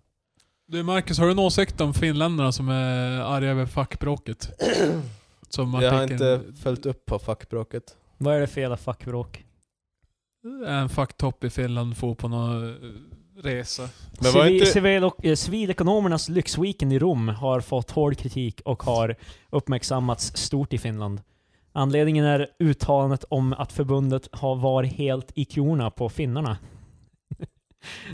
Du Marcus, har du någon åsikt om finländarna som är arga över fackbråket? Som
Jag har inte
artikeln-
följt upp på fackbråket.
Vad är det för jävla fuckbråk?
En facktopp i Finland får på någon eh, resa.
Men var
Civil,
inte-
civil och, eh, civilekonomernas lyxweekend i Rom har fått hård kritik och har uppmärksammats stort i Finland. Anledningen är uttalandet om att förbundet har var helt i klorna på finnarna.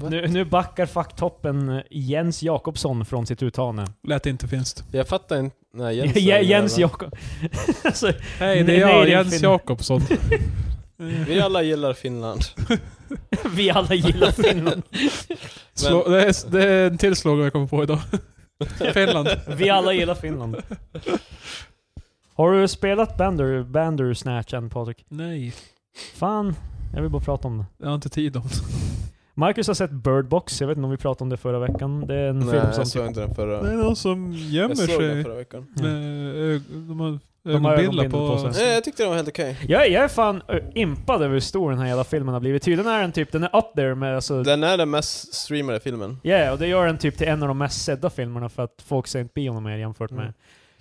Nu, nu backar facktoppen eh, Jens Jakobsson från sitt uttalande.
Lät inte finst.
Jag fattar inte. Nej, Jens,
Jens, Jakob... alltså,
Hej, det
Nej,
är
nej,
jag,
det är
Jens
Finn.
Jakobsson.
Vi alla gillar Finland.
Mm,
vi alla gillar Finland.
Slå, det, är, det är en till slogan jag kommer på idag. Finland.
Vi alla gillar Finland. Har du spelat Bander, Bandersnatch än Patrik?
Nej,
Fan, jag vill bara prata om det.
jag har inte tid om det.
Marcus har sett Bird Box, jag vet inte om vi pratade om det förra veckan. Det är en
Nej,
film
jag
som... typ-
typ
såg inte den förra.
Det är någon som gömmer
Jag såg den
sig.
förra veckan.
Ja.
Med ög- de har
De har
ögonbindlar
ögonbindel
på,
på sig.
Nej, jag tyckte den var helt okej.
Jag, jag är fan ö, impad över hur stor den här jävla filmen har blivit. Tydligen är den typ, den är up there med alltså...
Den är den mest streamade filmen.
Ja, och det gör den typ till en av de mest sedda filmerna för att folk ser inte bio mer jämfört med...
Mm.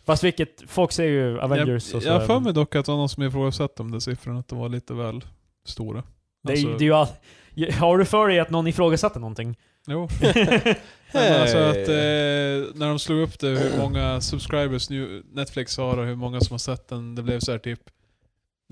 Fast vilket, folk ser ju Avengers och
Jag,
så.
jag har för mig dock att det var någon som ifrågasatte om de siffrorna, att de var lite väl stora.
det, är ju-
Alltså-
det är ju all... Har du för dig att någon ifrågasatte någonting?
Jo. Men alltså att eh, när de slog upp det, hur många subscribers nu Netflix har och hur många som har sett den, det blev så här typ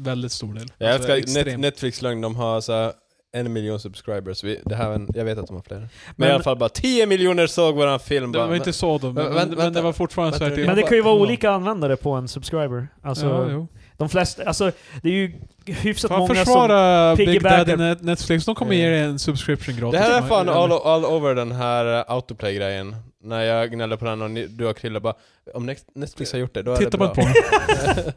väldigt stor del.
jag
Alltså,
älskar Net
extremt.
Netflix lögn, de har så här en miljon subscribers. Vi, det här är en, jag vet att de har fler. Men,
Men-
i alla fall bara 10 miljoner såg våran film.
Det
bara,
var inte så de, men,
Vä-
men,
vänta,
det var fortfarande så här
vänta,
typ...
Men det
bara-
kan ju vara
Ja.
olika användare på en subscriber. Alltså,
ja, jo.
de flesta, alltså det är ju hyfsat
Fan
många som...
försvara Big
piggybackar-
Daddy Net- Netflix, de kommer ge dig en subscription
det
gratis.
här är fan
Eller-
all, all over den här eh, autoplay-grejen. När jag gnällde på den och ni, du och Krille bara om Nex- Netflix har gjort det, då är
Titta
det
bara
bra.
på den.
Nej,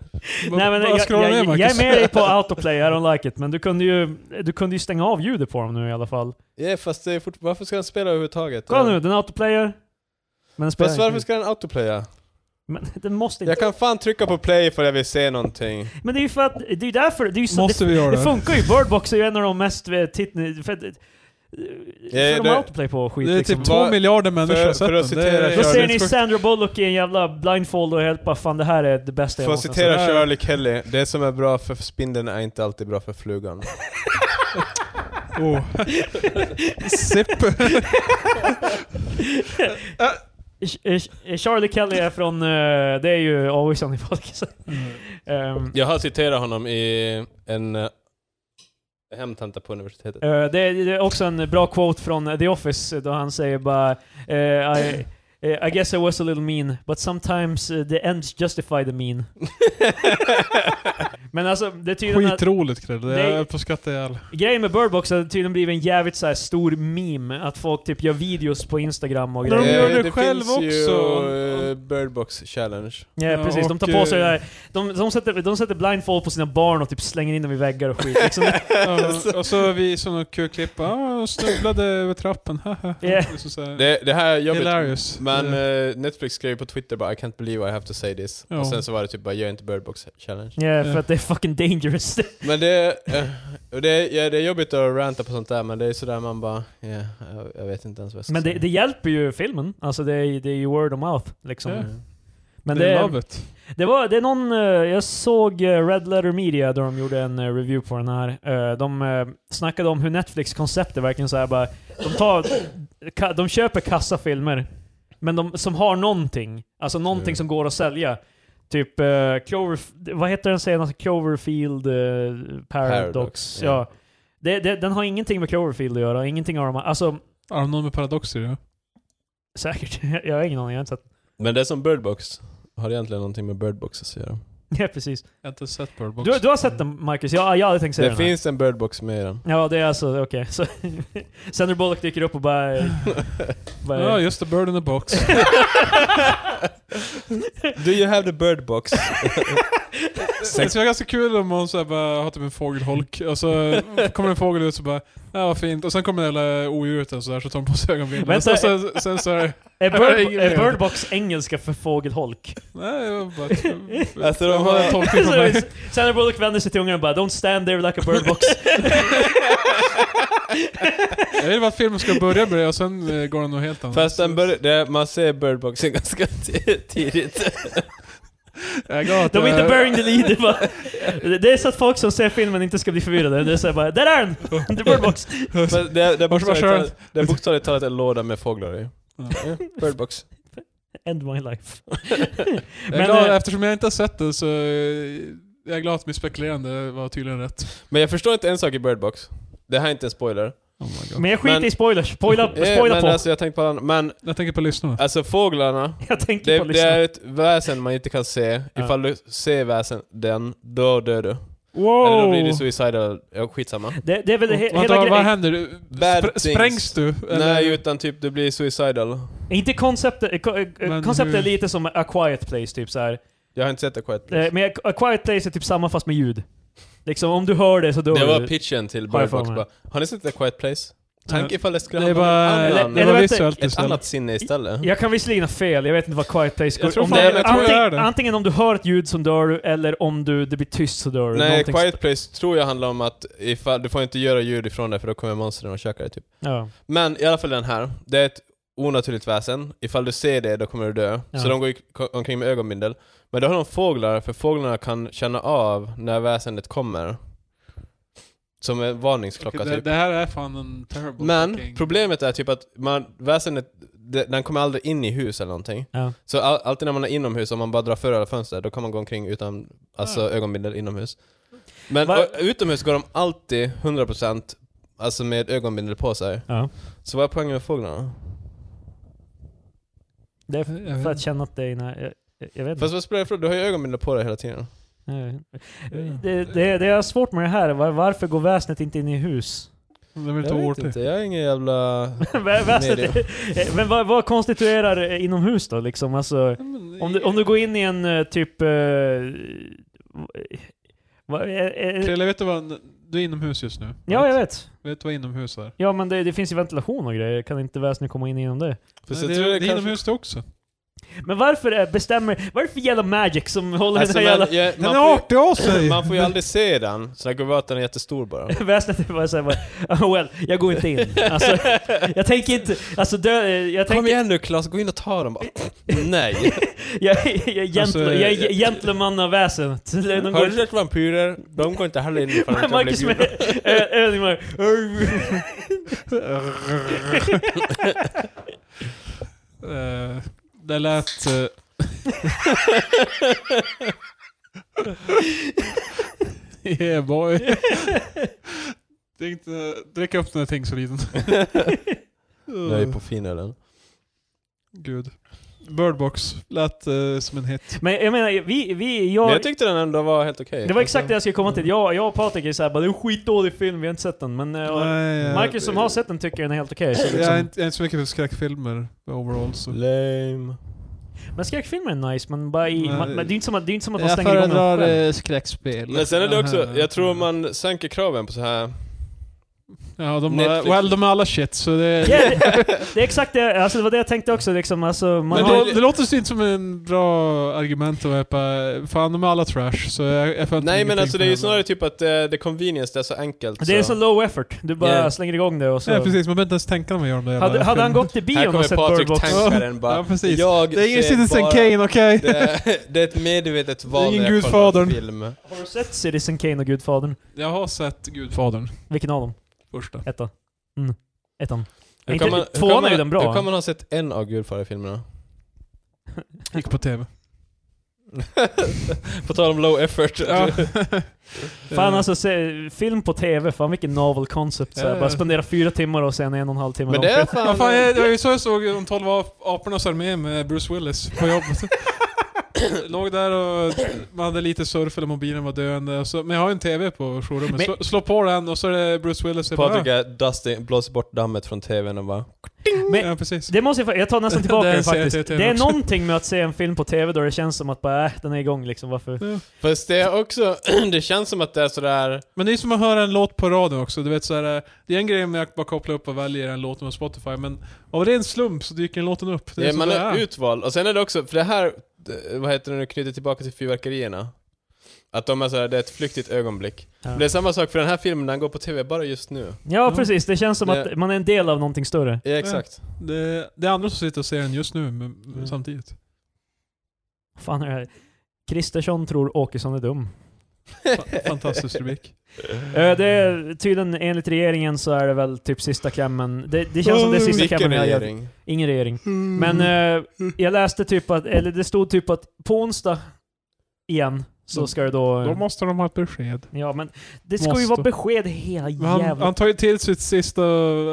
men
Bara
jag,
scrolla ner,
jag, jag är
Marcus.
med dig på autoplay, I don't like it. Men du kunde ju, du kunde ju stänga av ljudet på dem nu i alla fall.
Ja, fast det är fort, varför ska den spela överhuvudtaget?
Kolla nu,
Eh,
den autoplayer. Men den spelar
Fast varför
inte.
ska den autoplaya?
Men den måste inte.
Jag kan fan trycka på play ifall jag vill se någonting.
Men det är ju för att, det är ju därför, det är ju så,
Måste vi göra
det, det
det?
funkar ju. Birdbox är ju en av de mest eh, titt... För, att-
det-
för de har autoplay på och skit
Det är
liksom.
typ
Vad-
två miljarder
för-
människor har sett
för att
den. Det
citera
är-
Då
Shirley-
ser ni Sandra Bullock i en jävla blindfold och helt bara fan det här är det bästa jag
Får jag
någonsin
citera
säga.
Shirley Kelly, det som är bra för spindeln är inte alltid bra för flugan.
Oh. Sipp.
eh, Charlie Kelly är från, eh, det är ju Always on the podcast.
Mm.
Ehm,
Jag har citerat honom i en eh, hemtenta på universitetet.
Eh, det, är, det är också en bra quote från The Office då han säger bara eh, I, eh, I guess I was a little mean, but sometimes eh, the ends justify the mean. Men alltså, det är tydligen att,
Skitroligt Credde. Jag
Nej.
höll på att skratta ihjäl.
grejen med Bird Box har tydligen blivit en jävligt så här stor meme, att folk typ gör videos på Instagram och
de
grejer.
gör
Eh,
det
det
själv
finns
också.
ju eh, Bird Box Challenge.
Ja,
Ja,
precis. De
och,
tar på sig
eh,
det här. De, de, sätter, de sätter blindfold på sina barn och typ slänger in dem i väggar och skit. Liksom.
Ja, och så vi som någon kul klipp. Ah, snubblade över trappen. Haha.
Ja.
Det är så- så här-
Det, det här är jobbigt.
Hilarious.
Typ.
Men
Eh,
eh, Netflix skrev på Twitter bara I can't believe I have to say this.
Ja.
Och sen så var det typ bara gör inte Bird Box Challenge.
Ja, för att det är fucking dangerous.
Men det, eh, och det, ja, det är jobbigt att ranta på sånt där men det är sådär man bara, ja, jag, jag vet inte ens vad jag ska
Men det,
säga.
det hjälper ju filmen. Alltså det är, det är ju word of mouth liksom.
Mm.
Ja.
Men
det är
det,
love it.
det var, det är någon, eh, jag såg eh, Red Letter Media där de gjorde en eh, review på den här. Eh, De eh, snackade om hur Netflix koncept är verkligen såhär bara, de tar, ka- de köper kassafilmer, men de som har någonting. Alltså någonting
Ja.
som går att sälja. Typ eh, Clover, vad heter den senaste? Cloverfield eh, Paradox.
Paradox,
ja.
ja.
Det, det, den har ingenting med Cloverfield att göra, ingenting av de här- alltså
Har de någon med paradoxer? Ja.
säkert, jag har ingen aning, jag har inte sett.
Men det är som Bird Box har egentligen någonting med Bird Box att göra.
Ja precis.
Jag har inte sett Bird Box.
Du, du har sett den Marcus? Jag, jag hade tänkt säga
Det
den här.
finns en Bird Box med i den.
Ja, det är alltså, okej. Så Sandra Bullock dyker upp och bara... bara
Ja, just det. Bird in the box.
Do you have the Bird Box?
Det skulle vara ganska kul om hon så här bara har typ en fågelholk och så kommer en fågel ut så bara ja vad fint och sen kommer det hela odjuret och så där så tar hon på sig ögonbindeln. Och
Vänta,
Sen, sen, sen så är det...
är,
Jag har
bird,
ingen
är
aning.
Bird Box engelska för fågelholk?
Nej, jag var bara...
Alltså, de
jag har
har-
en tolkning på mig.
Sandra Bullock vänder sig till ungarna och bara “Don't stand there like a bird box”.
Jag vill bara att filmen ska börja med det och sen eh, går den nog helt annat.
Fast den bör, det, man ser Bird Boxen ganska ti- tidigt.
Jag gav att
De är
jag-
inte burying the lead. Det är bara- Det är så att folk som ser filmen inte ska bli förvirrade. Det är såhär bara “Där är den! The bird box!”
Men det, det, är
Varsågod,
bokstavligt
kör.
talat- det är bokstavligt talat en låda med fåglar i.
Ja.
Ja, Bird Box.
End my life.
Jag är
Men,
glad,
eh,
eftersom jag inte har sett den så eh, jag är glad att mitt spekulerande var tydligen rätt.
Men jag förstår inte en sak i Bird Box. Det här är inte en spoiler.
Oh my God.
Men jag skiter
Men-
i spoilers. Spoila,
Eh,
spoila
men
på.
alltså jag tänkte på den. Men
Jag tänker på lyssnarna.
alltså fåglarna.
jag tänker
Det,
på att
det
lyssna.
är ett väsen man inte kan se.
Ja.
Ifall du ser väsen, den, då dör du.
Wow!
Eller då blir du suicidal. Ja, skitsamma.
det, det är väl he,
Och,
hela
vänta, vad
grejen.
händer? Du-
Bad
Spr-
things.
sprängs du?
Nej, utan typ du blir suicidal.
Inte konceptet. eh, ko- eh,
Men
Konceptet är
hur-
lite som A Quiet Place, typ så här.
Jag har inte sett det Quiet Place.
Eh, Men A Quiet Place är typ samma fast med ljud. Liksom om du hör det så dör
Det var
du.
pitchen till
Har jag
Bird
för
Box.
mig.
Bara, Har ni sett The Quiet Place? Tänk
Ja.
ifall det skulle
Det är
handla om
bara...
en annan-
det
eller
var
vänta,
visuellt
ett
istället.
annat sinne istället.
Jag kan visserligen ha fel, jag vet inte vad Quiet Place
Jag tror
om
fan-
det-
Nej, men jag tror
jag gör
antingen,
det.
antingen om du hör ett ljud så dör du, eller om du, det blir tyst så dör du.
Nej,
Någonting-
Quiet Place tror jag handlar om att ifall, du får inte göra ljud ifrån dig för då kommer monstren och käkar dig typ.
Ja.
Men i alla fall den här, det är ett onaturligt väsen. Ifall du ser det, då kommer du dö.
Ja.
Så de går ju k- omkring med ögonbindel. Men då har de fåglar, för fåglarna kan känna av när väsendet kommer. Som en varningsklocka
det,
typ.
det här är fan en terrible
Men
fucking-
problemet är typ att man, väsendet, det, den kommer aldrig in i hus eller någonting.
Ja.
Så all, alltid när man är inomhus, om man bara drar för alla fönster, då kan man gå omkring utan alltså, ögonbindel inomhus. Men
Va-
och, utomhus går de alltid 100% alltså med ögonbindel på sig.
Ja.
Så vad är poängen med fåglarna?
Det är
Jag vet
för att
inte.
känna att det är... Jag, jag- jag vet inte.
Fast vad spelar det för roll? Du har ju ögonbindel på dig hela tiden.
Jag vet inte. Det, det, det är svårt med det här, Var- varför går väsnet inte in i hus?
Den vill
Jag
ta
vet
åt
inte,
dig.
jag är ingen jävla...
Vä- väsnet, Eh, men vad, vad konstituerar eh, inomhus då liksom? Alltså, om, du, om du går in i en eh, typ... eh, vad- eh, eh,
Krille, vet du vad... en- Du är inomhus just nu.
Ja, jag vet.
Vet du vad inomhus är?
Ja men det, det finns ju ventilation och grejer, kan inte väsnet komma in genom det?
Nej,
Fast jag
det,
tror
det
det
är
kanske-
inomhus det också.
Men varför är, bestämmer, varför jävla Magic som håller
Alltså,
den
men,
här jävla
jag, man, får
artig av
ju, man får ju aldrig se den, så den går bara att den är jättestor bara.
väsnet är bara såhär bara, "Oh, well, jag går inte in. Alltså, jag tänker inte, alltså dö, jag
Kom
tänker,
igen nu Klas, gå in och ta dem bara. Nej.
jag, jag, är gentle,
Alltså,
jag
jag-
är gentleman av väsenet. De
Har eh, du
går,
sett vampyrer? De går inte heller in ifall de inte blir
Marcus
bjudna.
med ö- övning bara,
Eh, Det lät... eh, yeah boy. Tänkte eh, dricka upp den här tingsriden.
Jag är på finölen.
Gud. Birdbox lät eh, som en hit.
Men jag menar, vi, vi,
Men
jag...
jag tyckte den ändå var helt okej.
det var exakt det jag skulle komma till. Jag, jag och Patrik är såhär bara, det är en skitdålig film, vi har inte sett den. Men eh, och
Nej, jag-
Marcus som har sett den tycker den är helt okej. så
Jag
liksom.
är inte, jag är inte så mycket för skräckfilmer overall så.
Alltså, Lame.
Men skräckfilmer är nice, men bara i...
Nej.
Man, men det är inte som att, det är inte som att man
Jag
stänger igång
föredrar
den själv.
eh, skräckspel.
Men sen är det också,
Aha.
jag tror man sänker kraven på så här.
Ja, de,
Netflix.
well, de är alla shit så det...
Ja, det, det är exakt det, alltså det var det jag tänkte också liksom, alltså, man
Men
har,
då, det låter inte som en bra argument att bara, fan de är alla trash så jag, jag fattar
Nej men
ingenting
alltså det är
från
ju
dem.
snarare typ att det, det är convenience, det är så enkelt.
Det är så low effort, du bara
Yeah.
slänger igång det och så...
Nej precis, man behöver inte ens tänka när man gör de där jävla
hade, hade han
filmerna.
gått till
Här
bion och
kommer
sett Bird
Patrik
Box...
tankaren bara.
Ja, precis.
Jag
Det är ingen
ser
Citizen
bara-
Kane, okej?
Det är, det är ett medvetet val
Det är ingen
när jag kollar
Gudfadern.
på film.
Har du sett Citizen Kane och Gudfadern?
Jag har sett Gudfadern,
Vilken av dem?
första.
Etta? Mm. Ettan.
Hur
Inte-
kan man- hur
tvåan
kan
är ju
man-
den bra.
Hur kan man ha sett en av Gudfadern-filmerna?
Gick på TV.
På tal om low effort.
Eh.
Fan alltså, se, film på TV, fan vilken novel concept. Så här,
Ja, ja.
Bara spendera fyra timmar och sen en och en halv timme
Men
lång
det är
film.
fan...
Ja, fan, jag, det var ju så jag såg De 12 ap- apornas armé med Bruce Willis på jobbet. Låg där och man hade lite surf eller mobilen var döende. och Så, men jag har ju en TV på jourrummet.
Men-
Slå, slå på den och så är det Bruce Willis. Jag bara,
Patrik är Dustin, blåser bort dammet från tvn och bara...
Men-
ja, precis.
Det måste jag, fa- jag tar nästan tillbaka
Det är en
den
serie
faktiskt.
till
Det är
också.
någonting med att se en film på TV då det känns som att bara, äh, den är igång liksom, varför?
Fast det är också... det känns som att det är sådär...
Men det är som att höra en låt på radion också. Du vet, så här, eh, det är en grej med att bara koppla upp och välja en låt på Spotify, men av ren slump så dyker den låten upp. Det är
Ja,
så
man
det
är utvald. Och sen är det också, för det här... det- Vad heter det nu, knyter tillbaka till fyrverkerierna. Att de är sådär, det är ett flyktigt ögonblick.
Ja.
Det är samma sak för den här filmen, den går på tv bara just nu.
Ja
Ja.
precis, det känns som
Det-
att man är en del av någonting större.
Ja, exakt.
Det, det är andra som sitter och ser den just nu men, samtidigt.
Fan är det här? Kristersson tror Åkesson är dum.
Fa- Fantastisk rubrik. Mm.
Eh, Det är, tydligen enligt regeringen så är det väl typ sista klämmen. Det, det känns som det är sista
Vilken
klämmen jag gör.
Mm, regering?
Ingen regering. Men
Mm.
eh, jag läste typ att, eller det stod typ att på onsdag igen så ska det då...
Mm. Då måste de ha ett besked.
Ja men det ska ju
Måste.
vara besked hela
Men han,
jävla
han tar ju till sitt sista,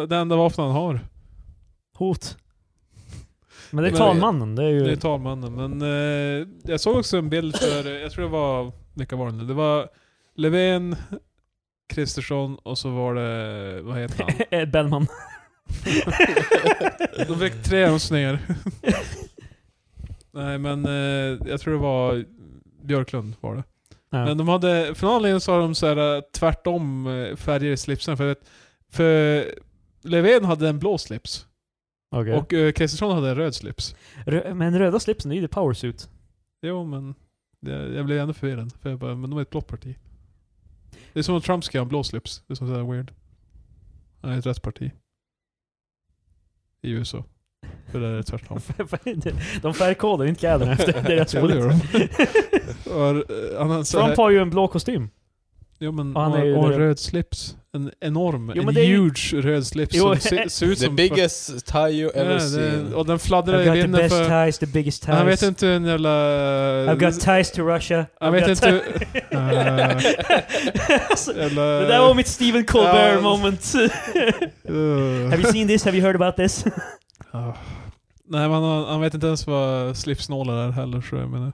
det enda vapen han har.
hot. Men det är
Men-
talmannen, det är ju...
Det är talmannen. Men eh, jag såg också en bild för, jag tror det var, vilka var det nu? Det var Löfven, Kristersson och så var det, vad heter han?
Eh, Bellman.
De fick tre önskningar. Nej men eh, jag tror det var Björklund var det.
Ja.
Men de hade, för någon anledning så har de så här, eh, tvärtom eh, färger i slipsen. För, jag vet- för Löfven hade en blå slips
Okej.
och eh, Kristersson hade en röd slips.
Rö- men röda slipsen, det är ju the power suit.
Jo men jag, jag blev ändå förvirrad. För jag bara, men de är ett blått parti. Det är som om Trump ska ha en blå slips. Det är som sådär weird. Han är ett rätt parti. I USA. För där är det tvärtom.
De färgkodar ju inte kläderna efter, det är rätt
Ja, det
roligt.
gör de. och, eh, han har så här-
Trump har ju en blå kostym.
Jo men,
Och han
han
är ju
och en
röd.
röd. slips. En enorm,
Jo, men
en
det är ju-
huge röd slips
Jo,
som ser, ser ut
The
som...
biggest tie you
Ja,
ever
det,
seen.
och den
I've
fladdrar i
got the
vinden
best
för...
ties, the biggest ties.
Han vet inte hur en jävla...
I've got ties to Russia.
Han
I've
vet
got
inte
ti-
hur... Eh,
Alltså,
jävla-
Det där var mitt Stephen Colbert
Ja.
moment.
Eh.
Have you seen this? Have you heard about this?
Ah. Nej, men han, han vet inte ens vad slipsnålar är heller, så jag menar.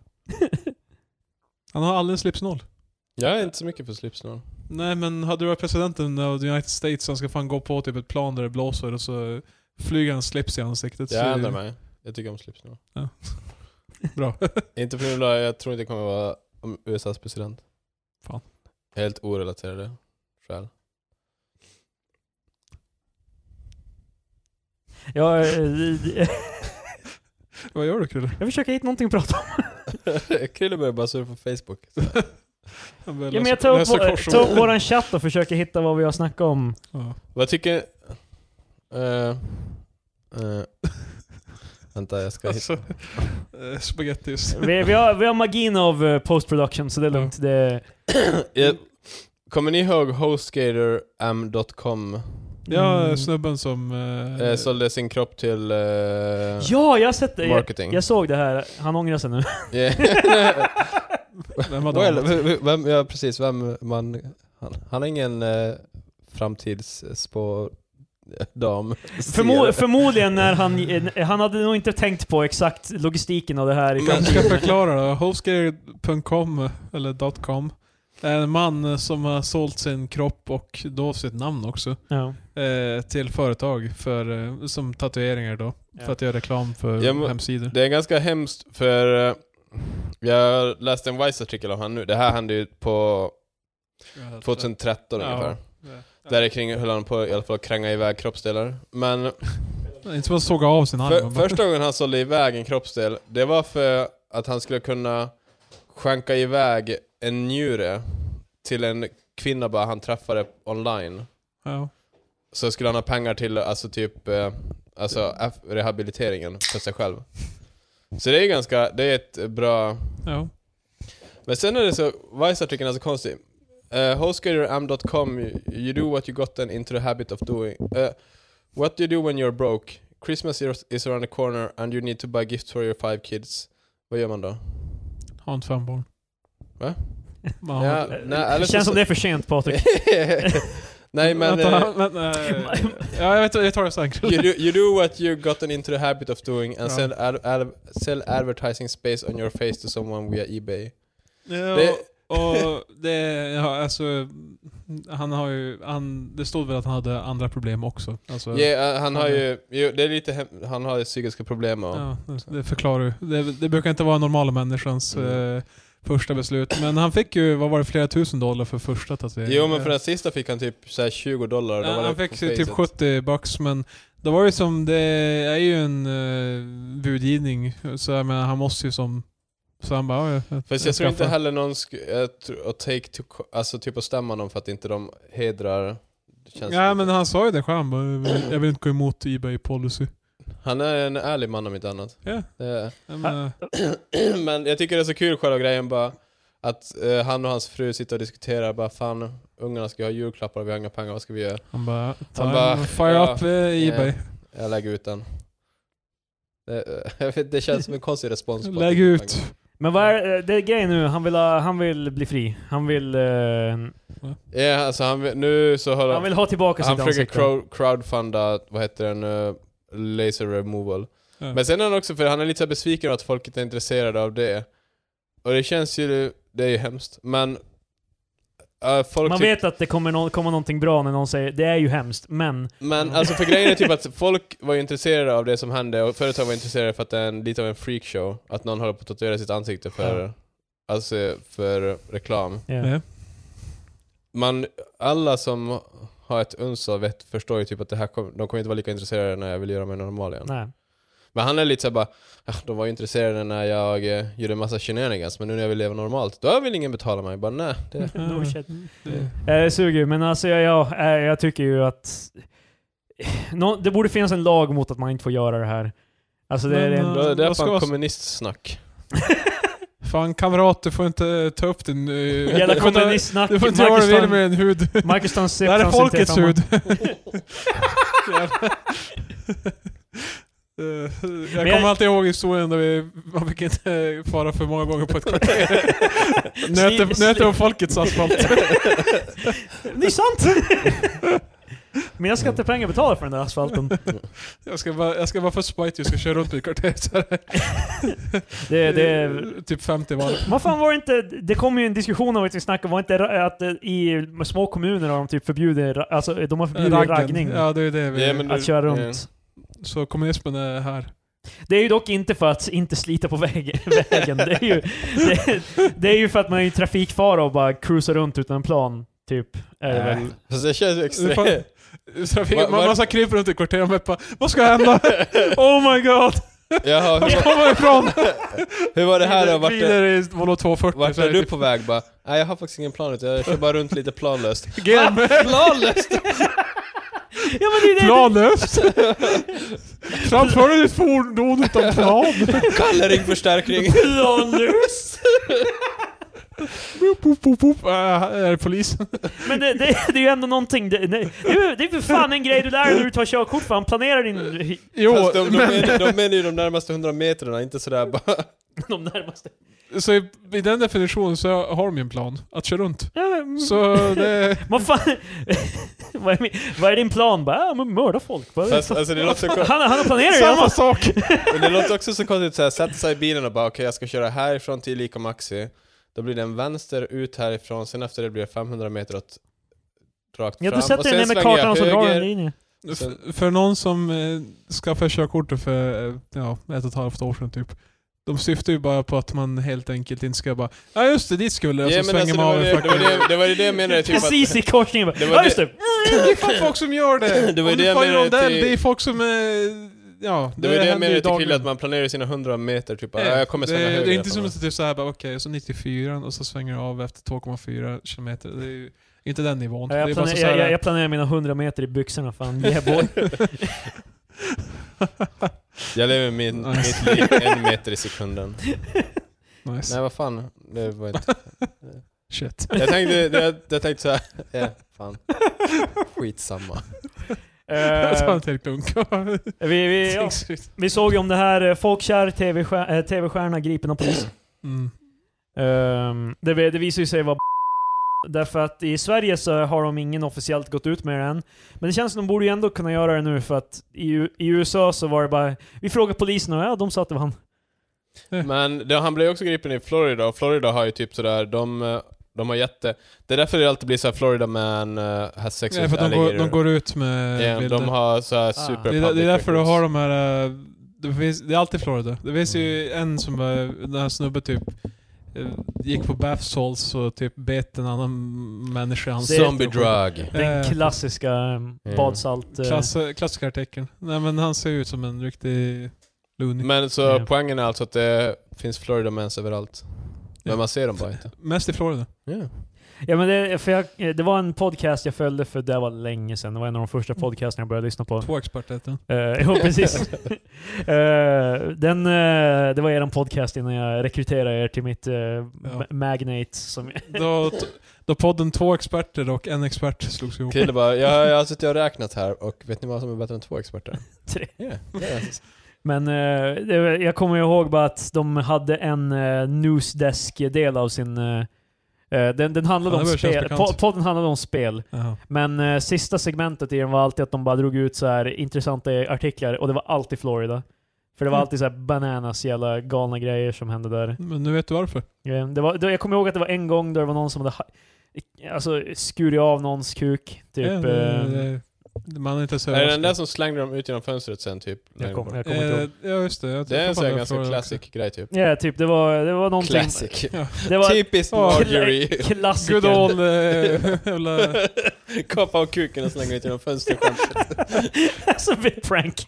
Han har aldrig en slipsnål.
Jag är inte så mycket för slipsnål.
Nej, men hade du varit presidenten av the United States, han ska fan gå på typ ett plan där det blåser och så flyger han slips i ansiktet. så-
Jag ändrar mig. Jag tycker om slipsnål.
Bra.
Inte för nu då, jag tror inte det kommer vara om USAs president.
Fan.
Helt orelaterade skäl.
Jag, eh,
vad gör du Krille?
jag försöker hitta någonting att prata om.
Krille börjar bara surfa på Facebook.
Han börjar
Ja, men
läsa-
jag tar upp,
läsa
vår,
korsord.
tar upp våran chatt och försöker hitta vad vi har snackat om.
Ja.
Vad tycker... Uh, uh, vänta, jag ska hitta...
Alltså, eh, spagettis.
Vi, vi, har, vi har magin av eh, post production, så det är
Ja.
lugnt. Det,
Jag, kommer ni ihåg hostgatorm.com?
Ja,
Mm.
snubben som... eh,
Eh, sålde sin kropp till... eh,
Ja, jag har sett det! Jag,
Marketing.
jag såg det här, han ångrar sig nu.
Yeah.
vem var det?
well, v- v- vem, ja precis, vem man... Han, han har ingen eh, framtidsspådam.
Förmo förmodligen när han, eh, han hade nog inte tänkt på exakt logistiken av det här. i
Men-
Jag
framtiden.
ska förklara då. Hostgator.com, eller .com, är en man som har sålt sin kropp och då sitt namn också
Ja.
eh, till företag för, eh, som tatueringar då.
Ja.
För att göra reklam för
Jag må-
hemsidor.
Det är ganska hemskt för... eh, Jag läste en Vice-artikel om han nu. Det här hände ju på 2013
Ja.
ungefär.
Ja.
Där kring höll han på i alla fall att kränga iväg kroppsdelar. Men
Inte som att såga av sin arm.
för,
bara-
första gången han sålde iväg en kroppsdel, det var för att han skulle kunna skänka iväg en njure till en kvinna bara han träffade online.
Ja.
Så skulle han ha pengar till alltså typ eh, alltså F- rehabiliteringen för sig själv. Så det är ganska, det är ett bra...
Ja.
Men sen är det så, Vice-artikeln är så konstig. Uh, Hostgator.am.com, you, you do what you got then into the habit of doing. Uh, what do you do when you're broke? Christmas is is around the corner and you need to buy gifts for your five kids. Vad gör man då?
Har inte fem barn.
Va?
Man har-
Ja, nej, eller
det
så-
känns som det är för sent Patrik.
Nej men...
Vänta,
eh,
han- vänta, eh, ja, jag, vet, jag tar det sen.
you, do, you do what you gotten into the habit of doing and
Ja.
sell, ad, ad, sell advertising space on your face to someone via ebay.
Ja,
Det-
och det, ja, alltså, han har ju, han, det stod väl att han hade andra problem också. Alltså,
Yeah, eh, han har
Ja.
ju... Jo, det är lite... hem- Han har ju psykiska problem och...
ja, det- det förklarar ju. Det, det brukar inte vara normala människans
Mm.
eh, första beslut. Men han fick ju, vad var det, flera tusen dollar för första tatueringen?
Jo men för den sista fick han typ så här 20 dollar. Då
Eh, Ja,
var det
han
på
fick ju typ
facet.
70 bucks men det var ju som, det är ju en uh, budgivning. Så jag menar, han måste ju som, så han bara, ja, jag,
Fast jag tror inte
skaffar.
heller någon sk- eh, tr- att take to, co- alltså typ att stämma dem för att inte de hedrar det känns
Ja
som-
men han sa ju det själv, han bara, jag vill- jag vill inte gå emot Ebay policy.
Han är en ärlig man om inte annat.
Ja.
Det är-
Jag menar,
Men jag tycker det är så kul själva grejen bara att eh, han och hans fru sitter och diskuterar bara fan ungarna ska ju ha julklappar och vi har inga pengar, vad ska vi göra?
Han bara, ta
Han bara,
en fire
ja,
up eh, Ebay.
Jag lägger ut den. Det, eh, jag vet, det känns som en konstig respons. på
Lägg
att-
ut.
Men vad är eh, det är grejen nu? Han vill, ha, han vill bli fri. Han vill, eh,
Ja, alltså han, vill- nu så håller
han vill ha tillbaka
Han
sitt
försöker
ansikte.
crowd, crowdfunda, vad heter den, eh, laser removal.
Ja.
Men sen är han också, för han är lite så här besviken över att folk inte är intresserade av det. Och det känns ju, det är ju hemskt, men... eh, folk
Man
tyck-
vet att det kommer no komma någonting bra när någon säger det är ju hemskt, men...
Men alltså för grejen är typ att folk var ju intresserade av det som hände, och företag var intresserade för att det är en, lite av en freakshow. Att någon håller på att tatuera sitt ansikte för,
Ja.
alltså, för reklam.
Ja.
Ja.
Man, alla som har ett uns av vett förstår ju typ att det här kom, de kommer inte vara lika intresserade när jag vill göra mig normal igen.
Nej.
Men han är lite såhär bara, "Ah, de var ju intresserade när jag eh, gjorde en massa shenanigans, men nu när jag vill leva normalt, då vill ingen betala mig. Jag bara nej.
Mm,
Det...
No shit.
Det-
Eh, Det suger ju, men alltså jag, jag, eh, jag tycker ju att... eh, Nå- det borde finnas en lag mot att man inte får göra det här. Alltså det är
Men,
en...
eh,
Det, det är
vad ska
fan
vara-
kommunistsnack.
Fan kamrat, du får inte ta upp din... eh,
Jävla
du får inte-
kommunistsnack.
Du får inte
Marcus
göra vad du vill
Tan-
med din hud.
Marcus Tan
Det här är folkets hud. Jävlar. Eh, Jag
Men jag-
kommer alltid ihåg historien där vi, man fick inte fara för många gånger på ett kvarter. Nöte- Nöte om folkets asfalt.
Det är sant! Mina skattepengar betalar för den där asfalten.
Jag ska vara, jag ska vara för spite, jag ska köra runt i kvarteret så här.
Det, det,
Typ 50 var
vad fan var det inte, det kom ju en diskussion om att vi snackade, var inte ra- att eh, i små kommuner har de typ förbjudit, ra- alltså de har förbjudit
Raggen.
raggning.
Ja, det är det vi...
Ja, men-
Att köra runt.
Ja.
Så kommunismen är här.
Det är ju dock inte för att inte slita på vägen. vägen. Det, är ju, det, det är ju för att man är i trafikfara och bara cruisar runt utan en plan. Typ. Är det väl.
Fast det känns ju
Det är
extremt...
Trafik,
Var-
man
var-
massa kryper runt i kvarteret och meppar. Vad ska hända? oh my god!
Jaha,
Var
hur,
ska man ifrån?
hur var det här då? Vart, är-
Vidare i Volvo 240.
vart
så är
är
det
du
typ-
på väg? Bara, nej jag har faktiskt ingen plan, utan jag kör bara runt lite planlöst.
typ Gen-
planlöst?
Ja, men det är det.
Planlöst! Framför dig ditt fordon utan plan!
Gallringförstärkning!
Planlöst!
Äh, är polisen?
Men det, det, det är ju ändå någonting, det, det, det är ju- det är för fan en grej du lär dig när du tar körkort fan, planera din...
Jo,
Fast de, de,
men-
är, de är ju de närmaste 100 metrarna, inte sådär bara...
De närmaste...
Så i, i den definitionen så har de ju en plan, att köra runt.
Ja, men-
Mm.
Så det...
Vad fan... vad, är min, vad är din plan? Bara, ja, men mörda folk. Bara,
Fast,
så,
alltså, det, låter så kon-
han, han har planerat det i alla
Samma
fall.
sak!
men det låter också så konstigt att sätta sig i bilen och bara okej jag ska köra härifrån till Ica Maxi. Då blir det en vänster ut härifrån, sen efter det blir det 500 meter åt rakt fram.
Ja, du sätter
och
dig
sen
ner med
svänger jag
kartan och så drar du
höger.
en linje.
F- för någon som eh, skaffade körkortet för eh, ja, ett och ett halvt år sedan typ. De syftar ju bara på att man helt enkelt inte ska bara Ja just det, dit skulle jag.
Ja,
så svänger
men alltså, det,
man
var
av
det,
en
det, var
fucking...
det, det var ju det jag menade, typ att,
Precis i korsningen bara,
Det var
ja
det-
just det!
Det är fan folk som gör det!
Det var
Om
det
du
jag
får en
menade
rondell,
till-
Det är folk som... eh, Ja,
det var ju det jag
händer ju
menade till Chrille,
dagligen.
att man planerar sina 100 meter typ bara,
Eh,
"Ja, jag kommer
det,
svänga höger.
det är inte som
härifrån."
att det är såhär bara okej, så 94 och så svänger du av efter 2,4 kilometer. Det är ju inte den nivån.
Ja,
det
jag,
är bara
planerar,
så här,
jag, jag, jag planerar mina 100 meter i byxorna fan, yeah boy.
Jag lever min, mitt
Nice.
liv en meter i sekunden.
nice.
Nej vad fan, det var inte...
Shit.
Jag tänkte, det, jag, jag tänkte såhär, ja, fan. Skitsamma.
Jag tar
Eh,
en till klunk.
vi, vi, ja, vi såg ju om det här, eh, folkkär TV-stjär- eh, TV-stjärna gripen av polis.
Mm.
Ehm, det, vi- det visar ju sig vara Därför att i Sverige så har de ingen officiellt gått ut med det än. Men det känns som de borde ju ändå kunna göra det nu för att i, U- i USA så var det bara Vi frågade polisen och ja, de sa att det var han.
Men det, han blev också gripen i Florida, och Florida har ju typ sådär, de, eh, de har jätte... Det är därför det alltid blir såhär Florida man uh, has sex
Ja,
with
för att de går,
alligator.
de går ut med
Ja,
bilder.
de har såhär
Ah.
super
det, är, det
public
är därför du
records.
har de här... eh, Det, finns, det är alltid Florida. Det finns ju
Mm.
en som eh, den här snubben typ eh, gick på bath salts och typ bet en annan människa i ansiktet.
Zombie drug.
Den
Eh,
klassiska ehm,
Ja.
badsalt... eh,
Klass, klassikartecken. Nej men han ser ut som en riktig loony.
Men så
Ja.
poängen är alltså att det finns Florida mans överallt. Men
Ja.
man ser dem bara inte.
Mest i Florida.
Ja.
Ja men det, för jag, eh, det var en podcast jag följde för det var länge sedan. Det var en av de första podcasterna jag började lyssna på.
Två experter heter han.
Uh, jo, precis. Eh, den, eh, det var er podcast innan jag rekryterade er till mitt uh, magnate. Som,
Då, då podden två experter och en expert slogs ihop.
Krille bara, jag, har- jag har suttit och räknat här och vet ni vad som är bättre än två experter?
Tre.
Yeah, alltså- yeah.
men eh, det, var- jag kommer ihåg bara att de hade en uh, newsdesk-del av sin... eh, eh, den, den handlade
Ja, det
om
börjar kännas
spel.
bekant.
Po- Podden handlade om spel.
Jaha.
Men eh, sista segmentet i den var alltid att de bara drog ut så här intressanta artiklar och det var alltid Florida. För det var
Mm.
alltid så här bananas jävla galna grejer som hände där.
Men nu vet du varför.
Eh, Det var, det, jag kommer ihåg att det var en gång då det var någon som hade ha- alltså, skurit av någons kuk. Typ,
Ja,
eh,
det, det, man är inte så
Är det den där
överraskad.
som slängde dem ut genom fönstret sen typ?
jag
längre
kommer
bort?
jag kommer inte ihåg.
Eh, Ja just det. Jag
Det är en sån
tror
här
fan
ganska
Florida
classic grej typ.
Ja, typ det var, det var någonting...
Classic.
Det var
Typ
Typiskt
Ja.
Marjorie.
också.
klassiker.
Good old eh, jävla...
Kapa av kuken och slänga ut genom fönstret.
alltså, bit prank.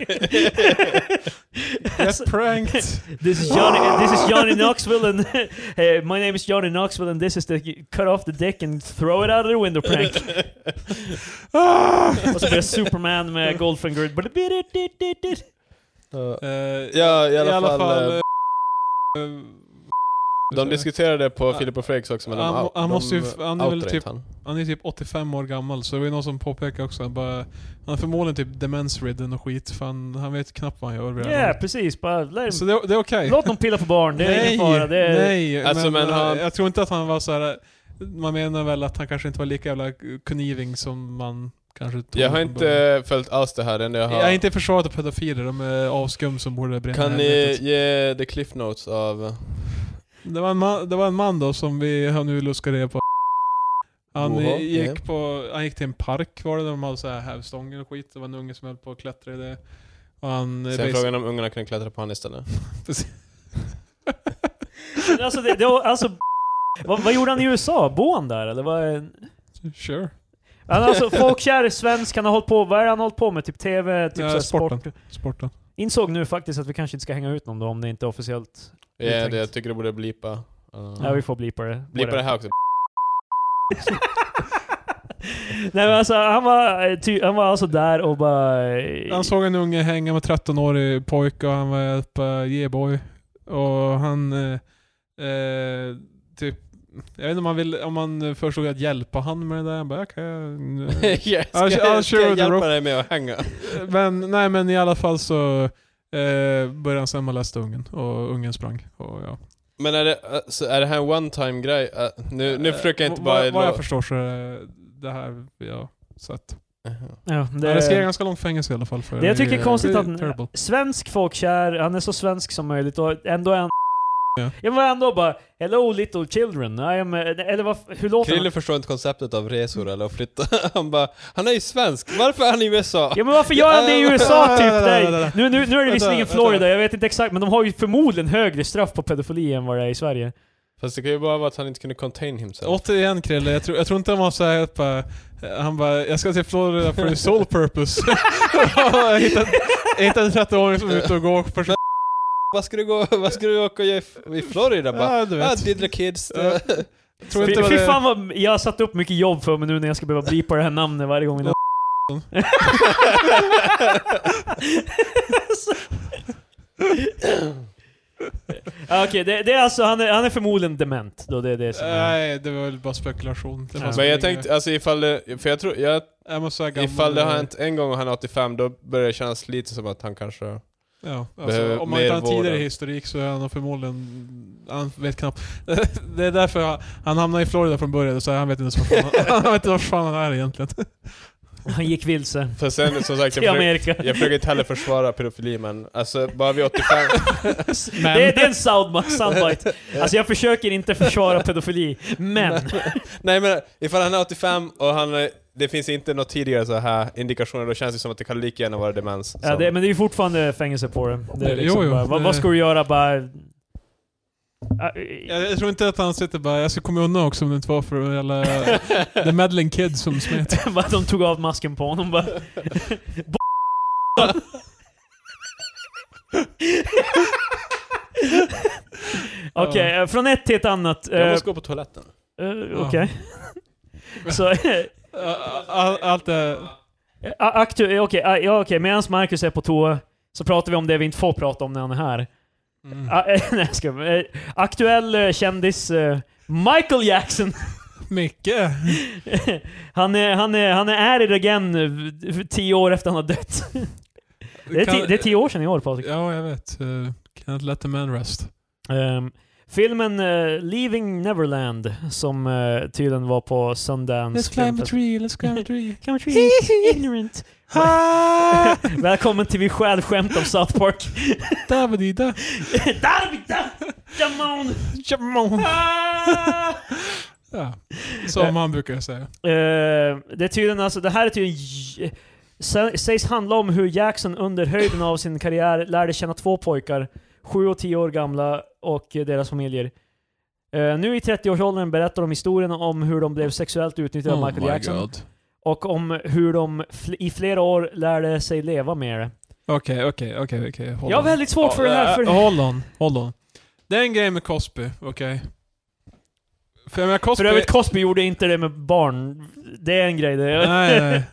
Get pranked!
This is Johnny. this is Johnny Knoxville, and hey, my name is Johnny Knoxville, and this is the cut off the dick and throw it out of the window prank. Och så blir det Superman med Goldfinger.
Ja.
Eh,
Ja, i alla fall, eh,
eh,
De diskuterade på
Ah.
Filip och Fredriks också men de,
Han-
out-
han
de
måste ju f- han är väl
outrate
typ-
han.
Han är typ 85 år gammal, så det var ju någon som påpekade också han bara... Han är förmodligen typ demensridden och skit, för han, han vet knappt vad han gör.
Ja,
vid det här
yeah,
laget.
precis. Bara, lär,
Så det, det är okej.
låt dem pilla på barn, det är ingen fara. Det är,
nej.
Alltså,
men, eh,
men han-
Jag tror inte att han var så här. Man menar väl att han kanske inte var lika jävla conniving som man kanske tror.
Jag har
från början.
inte eh, följt alls det här, det enda jag har...
Jag är inte försvarat av pedofiler, de är avskum som borde bränna
Kan ni
helvetet.
ge the cliff notes av...
det, var en man, det var en man då som vi har nu luskat reda på. Han
Jaha,
gick
ja.
på, han gick till en park var det, där de hade så här hävstången och skit. Det var en unge som höll på att klättra i det. Och han... eh,
Sen
bas-
frågan om ungarna kunde klättra på han istället.
Men alltså, det, det, var- alltså, vad, vad gjorde han i USA? Bor han där eller? Vad,
Sure.
han, alltså, folkkär svensk, han har hållit på, vad är det han har hållit på med? Typ TV, typ
Ja,
så här sport.
sporten. Sporten.
Insåg nu faktiskt att vi kanske inte ska hänga ut någon då om det inte är officiellt.
Ja,
Det är
Eh, det,
tänkt.
jag tycker det borde blipa. Uh,
Ja, vi får blipa det.
blipa det här också.
Nej men alltså, han var, eh, ty, han var alltså där och bara... eh,
Han såg en unge hänga med 13-årig pojke och han var ett ge boy. Och han eh, eh, typ Jag vet inte om man, vill, om man föreslog att hjälpa han med det där. Jag bara, okay.
jag ska,
I'll- I'll
jag ska
share with the rope.
hjälpa dig med att hänga.
Men nej men i alla fall så eh, började han sen molesta ungen och ungen sprang. Och, ja.
Men är det, eh, så är det här en one time grej? Eh, Nu, nu
Eh,
försöker jag inte
vad-
bara...
Vad jag
lo-
förstår så är det- det här vi har sett.
Jaha.
Ja, det,
Han riskerar ganska långt fängelse i alla fall. För
det jag tycker är
eh,
konstigt
det
att
Terrible.
svensk folkkär, han är så svensk som möjligt och ändå är han...
Ja.
Jag var ändå bara 'Hello little children' I am, eller vad, hur låter han?
Eh, Krille förstår inte konceptet av resor eller att flytta. Han bara, han är ju svensk, varför är han i USA?
Ja men varför gör han det i USA typ?
Vänta,
Nej.
vänta, vänta.
Nu, nu, nu är det
Vänta,
visserligen
vänta.
Florida, jag vet inte exakt, men de har ju förmodligen högre straff på pedofili än vad det är i Sverige.
Fast det kan ju bara vara att han inte kunde contain himself.
Återigen Krille, jag tror, jag tror inte han var såhär att bara, eh, han bara 'Jag ska till Florida för the sole purpose' Jag hittade- jag hittade en 30-åring som är ute och går och försöker...
Vad ska du gå, vad ska du åka och göra i F- i Florida bara?
Ja, du
Ja,
vet.
diddla kids.
Ja. "Ah, Tror
Fy,
inte vad
fy
det-
fan vad, jag har satt upp mycket jobb för mig nu när jag ska behöva blipa det här namnet varje gång. Ja, Okej, det, det är alltså, han är, han är förmodligen dement då, det är det som är...
Nej, det var väl bara spekulation. Det
Ja.
fanns
Men jag
inget-
tänkte, alltså ifall det, för jag tror, jag,
jag måste säga gammal, eh,
ifall det har hänt en gång och han är 85, då börjar det kännas lite som att han kanske...
Ja,
Behöver
alltså, om man
mer
inte har en tidigare
vård.
historik så är han nog förmodligen... Han vet knappt. Det är därför han, han hamnade i Florida från början, så han vet inte ens vad fan, han vet inte vad fan han är egentligen.
Han gick vilse.
För sen som sagt, jag
Till
försöker,
Amerika.
jag försöker inte heller försvara pedofili men alltså bara vid 85,
Det,
Men,
det är en sound, soundbite. Alltså jag försöker inte försvara pedofili, men...
Nej men ifall han är 85 och han, eh, det finns inte något tidigare så här indikationer, då känns det som att det kan lika gärna vara demens.
Ja,
som-
det, men det är ju fortfarande fängelse på det. det är
Jo,
liksom
jo,
bara, vad,
det-
vad ska du göra bara...
jag, jag tror inte att han sitter bara 'Jag ska komma undan också om det inte var för alla The Meddling Kid som smet.
Bara de tog av masken på honom bara... Okej, eh, från ett till ett annat. eh,
Jag måste gå på toaletten.
eh, Okej. Så... eh,
All, allt det...
a- aktu- eh, Okej, okay, ja, okay. medan Marcus är på toa så pratar vi om det vi inte får prata om när han är här.
Mm.
Ah, eh, nej, jag skojar. Eh, Aktuell eh, kändis eh, Michael Jackson.
Micke!
han, är, han, är, han är arid again eh, v- tio år efter han har dött. Det är, ti- det är tio år sedan i år Patrik.
Ja, jag vet. Uh, can't let the man rest.
Ehm, filmen eh, Leaving Neverland som eh, tydligen var på Sundance Film Fest-
tree, let's climb a tree.
Climb a tree, ignorant.
Ha!
Välkommen till Vi stjäl skämt om South Park.
Dabadida.
Darbita! Come on! Ah!
Ja. Som han brukar säga.
Eh, det är tydligen alltså, det här är tydligen... j- sä- Sägs handla om hur Jackson under höjden av sin karriär lärde känna två pojkar, sju och tio år gamla, och eh, deras familjer. Eh, nu i 30-årsåldern berättar de historien om hur de blev sexuellt utnyttjade
Oh
Oh
av Michael Jackson. Och om hur de fl- i flera år lärde sig leva med det.
Okej, okej, okej, okej. Hold
Jag har
on.
väldigt svårt för
Ja,
det här,
äh,
för,
Hold on, hold on. Det är en grej med Cosby, okej? För jag menar Cosby...
för övrigt Cosby gjorde inte det med barn. Det är en grej det.
Nej, nej.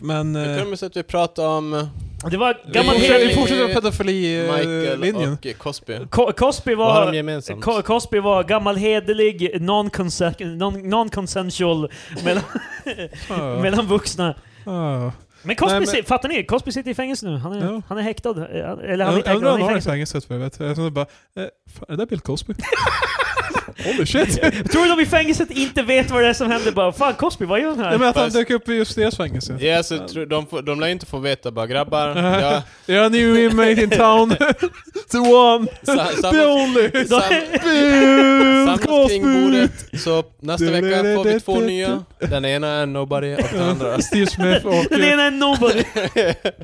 Men...
Det
eh,
kommer sig att vi pratar om eh,
Det var
Vi
gammal
fortsätter, vi
hederlig-
fortsätter med
Michael
pedofili-linjen.
och eh, Cosby.
Co- Cosby
Vad har de
var...
gemensamt?
Co- Cosby var gammal hederlig, non-consen- non- non-consensual mellan,
Ah,
mellan vuxna. Men Cosby,
Nej, men-
si- fattar ni? Cosby sitter i fängelse nu. Han är,
Ja.
han är häktad. Eh, han- Eller
Jag
han är inte
jag
häktad,
undrar
han
om han
är i
har i
fängelse.
fängelset vad jag vet. Jag tänkte bara, eh, fan, är det där Bill Cosby? Holy shit!
Tror du de i fängelset inte vet vad det är som händer? Bara, Fan Cosby, vad gör han
Jag
här?
menar att han
fast-
dök upp i just deras fängelse.
Ja, så tro- de, får- de lär ju inte få veta bara grabbar,
Nej.
ja,
You're a new inmate in town. the one,
sa,
the
samlas,
only,
sam,
Bill
samlas kring
Cosby!
bordet, så nästa vecka får vi två nya. Den ena är nobody och den andra...
Steve Smith och
Den
eh,
ena är nobody.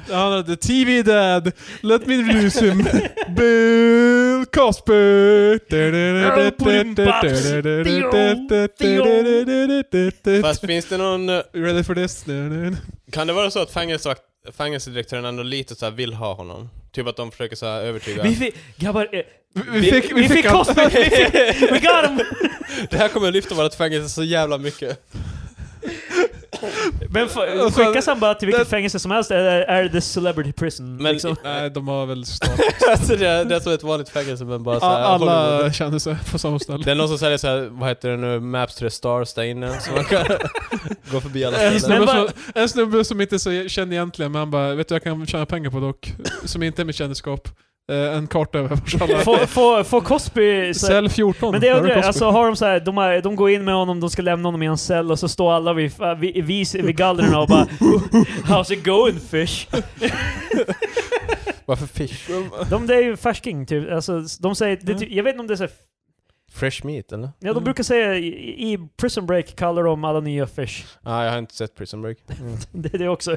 den andra, the TV dad. Let me introduce him. Bill Cosby!
Fast finns det någon... eh,
You ready for this?
Kan det vara så att fängelsevakt, fängelsedirektören ändå lite så här vill ha honom? Typ att de försöker så här övertyga.
Vi fick... Grabbar, eh,
Vi fick, vi fick han.
Cosby! Vi fick- We got him!
Det här kommer lyfta vårt fängelse så jävla mycket.
Men fa-
Alltså,
skickas han bara till vilket
det-
fängelse som helst eller är det the celebrity prison?
Men-
liksom?
Nej, de har väl startat.
alltså det, det är som ett vanligt fängelse men bara såhär...
Alla kändisar på samma ställe.
Det är någon som säger såhär, vad heter det nu, Maps to the Stars där inne, så man kan gå förbi alla
En
ställen.
Men
snubbe,
bara-
som, en snubbe som inte är så känd egentligen, men han bara vet du jag kan tjäna pengar på dock, som inte är mitt kändisskap. Eh, en karta över vars alla...
Får- Får får Cosby... så-
Cell 14.
Men det
Där
undrar jag,
Cosby.
alltså har de så här, de, har, de går in med honom, de ska lämna honom i en cell och så står alla vid, äh, vid, vid, vid gallren och bara "Uh, How's it going fish?
Varför fish?
De det är ju färsking typ, alltså, de säger, det, är typ- jag vet inte om det är så här,
Fresh meat eller?
ja de
Mm.
brukar säga i, i Prison Break kallar de alla nya fish.
Nej, ah, jag har inte sett Prison Break.
Mm.
Det, det är också,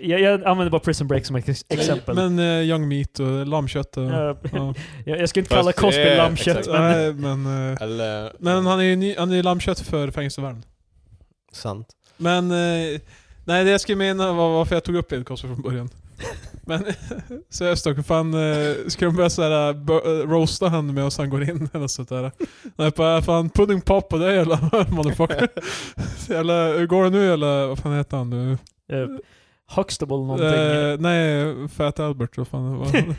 jag, jag använder bara Prison Break som ex, exempel.
Men eh, young meat och lammkött och...
Ja,
ja.
jag, jag ska inte kalla
Fast det
Cosby
är-
lammkött
exakt.
men...
Nej, men... eh,
Eller...
men han är ju ny, han är ju lammkött för fängelsevärn.
Sant.
Men... eh, Nej, det jag skulle mena var varför jag tog upp Bill Cosby från början. Men seriöst dock, fan eh, ska de börja såhär bo- eh, roasta han med oss han går in eller sådär? Nej, bara, fan pudding pop på dig jävla motherfucker. Så jävla, hur går det nu eller vad fan heter han nu?
eh, Huxtable någonting.
Eh, nej, Fat Albert, vad fan var han?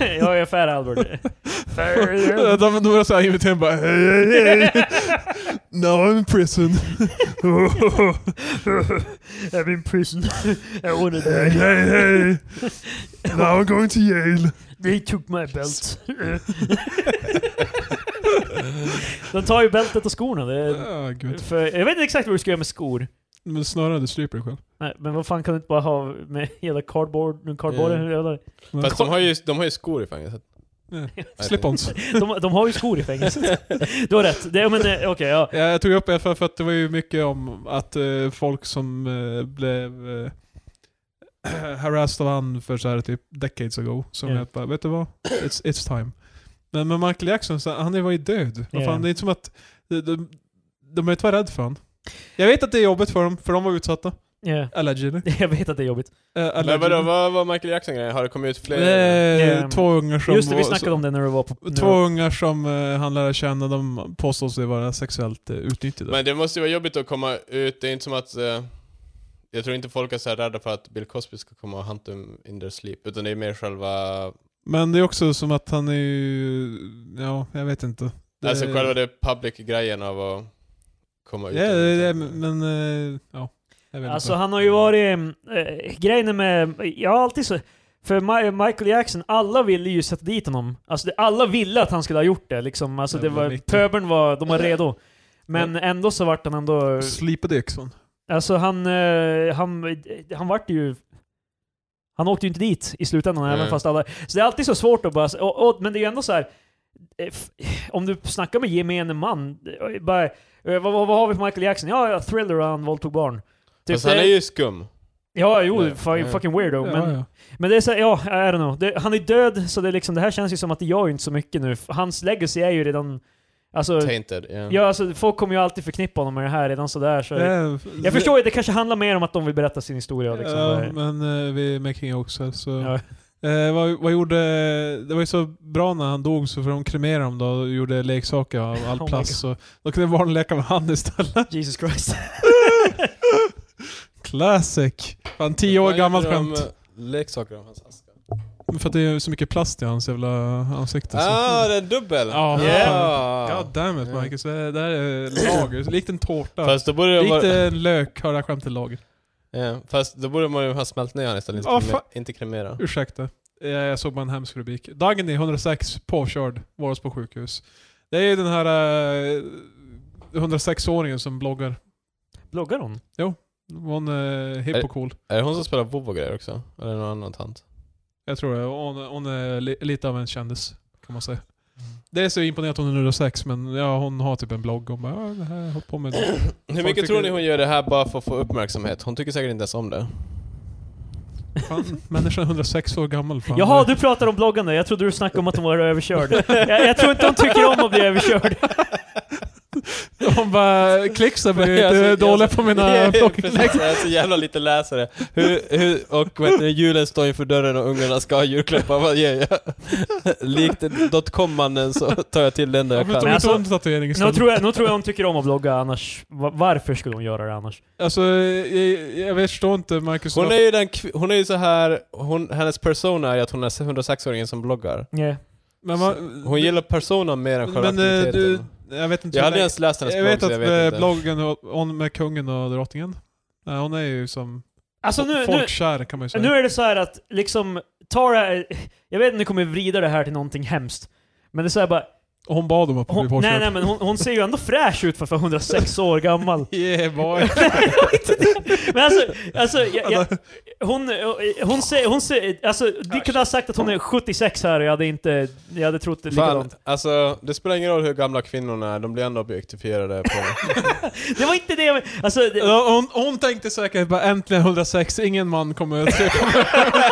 jag är Fair Albert.
De, de, de var såhär inviterade bara hej, hej, hej. Now I'm in prison.
I'm in prison. I wanna
Hej,
die.
hej, hej. Now I'm going to Yale.
They took my belt. De tar ju bältet och skorna. Det är,
Ah, gud.
för, jag vet inte exakt vad du ska göra med skor.
Men snarare du stryper dig själv.
Nej, men vad fan kan du inte bara ha med hela cardboard, cardboarden?
Mm.
eller?
Fast de har ju, de har ju skor i fängelset.
Slip-ons.
De, de har ju skor i fängelset. Du har rätt. Det, men, eh, okej, ja.
Ja, jag tog upp det för, för att det var ju mycket om att eh, folk som eh, blev eh, harassed av han för så här typ decades ago. Som
Ja.
yeah. bara, vet du vad? It's, it's time. Men, men Michael Jackson, så, han var ju död. Vad
Ja.
Fan, det är inte som att de, de, de är inte rädda för han. Jag vet att det är jobbigt för dem, för de var utsatta.
ja.
Allegedly.
Jag vet att det är jobbigt.
Eh,
Men
allegedly.
vadå, vad var Michael Jackson-grejen? Har det kommit ut
Eh,
fler?
Ja.
Två ungar som...
Ehm, Just det, vi
var-
snackade om det när du var på... när du
Två
var-
ungar som eh, han lärde känna, de påstår sig vara sexuellt eh, utnyttjade.
Men det måste ju vara jobbigt att komma ut, det är inte som att... Eh, jag tror inte folk är så här rädda för att Bill Cosby ska komma och hunt them in their sleep, utan det är mer själva...
Men det är också som att han är ju... Ja, jag vet inte. Det,
Alltså själva det public-grejen av att komma ut.
Ja, det, det, men... eh, Ja. Jag vet
Alltså
inte.
han har ju varit... Äh, grejen är med... Jag har alltid så... För Ma- Michael Jackson, alla ville ju sätta dit honom. Alltså det, alla ville att han skulle ha gjort det liksom. Alltså det
Jävla
var...
Mickey.
Pöbeln var... De var redo. Men ändå så vart han ändå...
Sleepy Dixon.
Alltså han... eh, han, han vart ju... Han åkte ju inte dit i slutändan
Nej.
även fast alla... Så det är alltid så svårt att bara... Och, och, men det är ju ändå så här. eh, f- Om du snackar med gemene man, eh, bara, eh, vad, vad, vad har vi på Michael Jackson? Ja, ja, thriller och han våldtog barn. Typ,
Fast han
det-
är ju skum.
Ja, jo,
Nej.
fucking,
Nej.
fucking weirdo. men,
Ja, ja.
men det är såhär, ja, I don't know. Det, han är död, så det, är liksom, det här känns ju som att det gör ju inte så mycket nu. F- Hans legacy är ju redan... Alltså,
Tainted. ja.
ja, alltså, folk kommer ju alltid förknippa honom med det här redan sådär. Så
Eh,
jag förstår ju, det kanske handlar mer om att de vill berätta sin historia. Liksom.
Ja, men eh, vi är making också så...
Ja.
Eh, vad, vad gjorde... Det var ju så bra när han dog så för de kremerade honom då och gjorde leksaker av all
Oh my
plast. Så då kunde barnen leka med han istället.
Jesus Christ.
Classic! Fan, tio år
Vad
gammalt
heter de,
skämt.
eh, Leksaker om hans aska.
För att det är så mycket plast i hans jävla ansikte. så-
Ah, det är dubbel!
Ja,
Ah.
God damn it
Ja.
Marcus, det där är lager. Likt en tårta.
Fast då borde det
Likt
vara...
en lök har det här skämtet lager.
Ja, fast då borde man ju ha smält ner han istället, inte,
Ja,
kreme-
fan.
inte kremera.
Ursäkta. Eh, Jag såg bara en hemsk rubrik. Dagny 106 påkörd, varas på sjukhus. Det är ju den här eh, 106-åringen som bloggar.
Bloggar hon?
Hon är
Är-
hipp och cool.
Är det hon som spelar vov och grejer också? Eller någon annan tant?
Jag tror det. Hon, hon är li, lite av en kändis, kan man säga.
Mm.
Det är så imponerande att hon är 106, men ja, hon har typ en blogg. Hon bara ja, det här har jag hållit på med.
Hur
Folk
mycket
tycker-
tror ni hon gör det här bara för att få uppmärksamhet? Hon tycker säkert inte ens om det.
Fan, människan är 106 år gammal. Fan.
Jaha, du pratar om bloggande. Jag trodde du snackade om att hon var överkörd. jag, jag tror inte hon tycker om att bli överkörd.
De bara klicks har blivit
Alltså,
eh,
jag-
dåliga på mina fucking
Precis, jag är så jävla lite läsare. Hur, hur, och vet ni, julen står inför dörren och ungarna ska ha julklappar, vad gör jag? Likt dotcom-mannen så tar jag till den där jag
Varför tar
kan.
vi inte
alltså,
om tatuering
Nu
istället?
tror, jag, nu tror jag hon tycker om att vlogga annars. Va- Varför skulle hon göra det annars?
Alltså, jag, jag förstår inte Marcus.
Hon är ju den, kv- hon är ju så här, hon, hennes persona är att hon är 106-åringen som bloggar.
Nej.
men, man-
Hon gillar persona mer än själva
Men eh,
aktiviteten.
du, jag vet inte
jag
hur
hade
länge-
ens läst hennes
Jag
blogg,
vet
så
att
jag vet
eh,
inte.
bloggen, och- hon med kungen och drottningen. Nej, hon är ju som
Alltså nu, nu,
folkkär kan man ju säga.
nu är det så här att liksom, ta det här, jag vet att ni kommer vrida det här till någonting hemskt. Men det är så här bara,
Och hon bad om att bli
hon, nej, nej
bortköpt.
men hon, hon ser ju ändå fräsch ut för att vara 106 år gammal.
Yeah boy.
Men alltså, alltså jag, jag, hon, hon ser, hon ser, alltså ni kunde ha sagt att hon är 76 här och jag hade inte, jag hade trott det
Fan,
likadant.
alltså det spelar ingen roll hur gamla kvinnorna är, de blir ändå objektifierade på...
Det var inte det jag men- alltså, det,
Ja, hon, hon tänkte säkert bara äntligen 106, ingen man kommer att se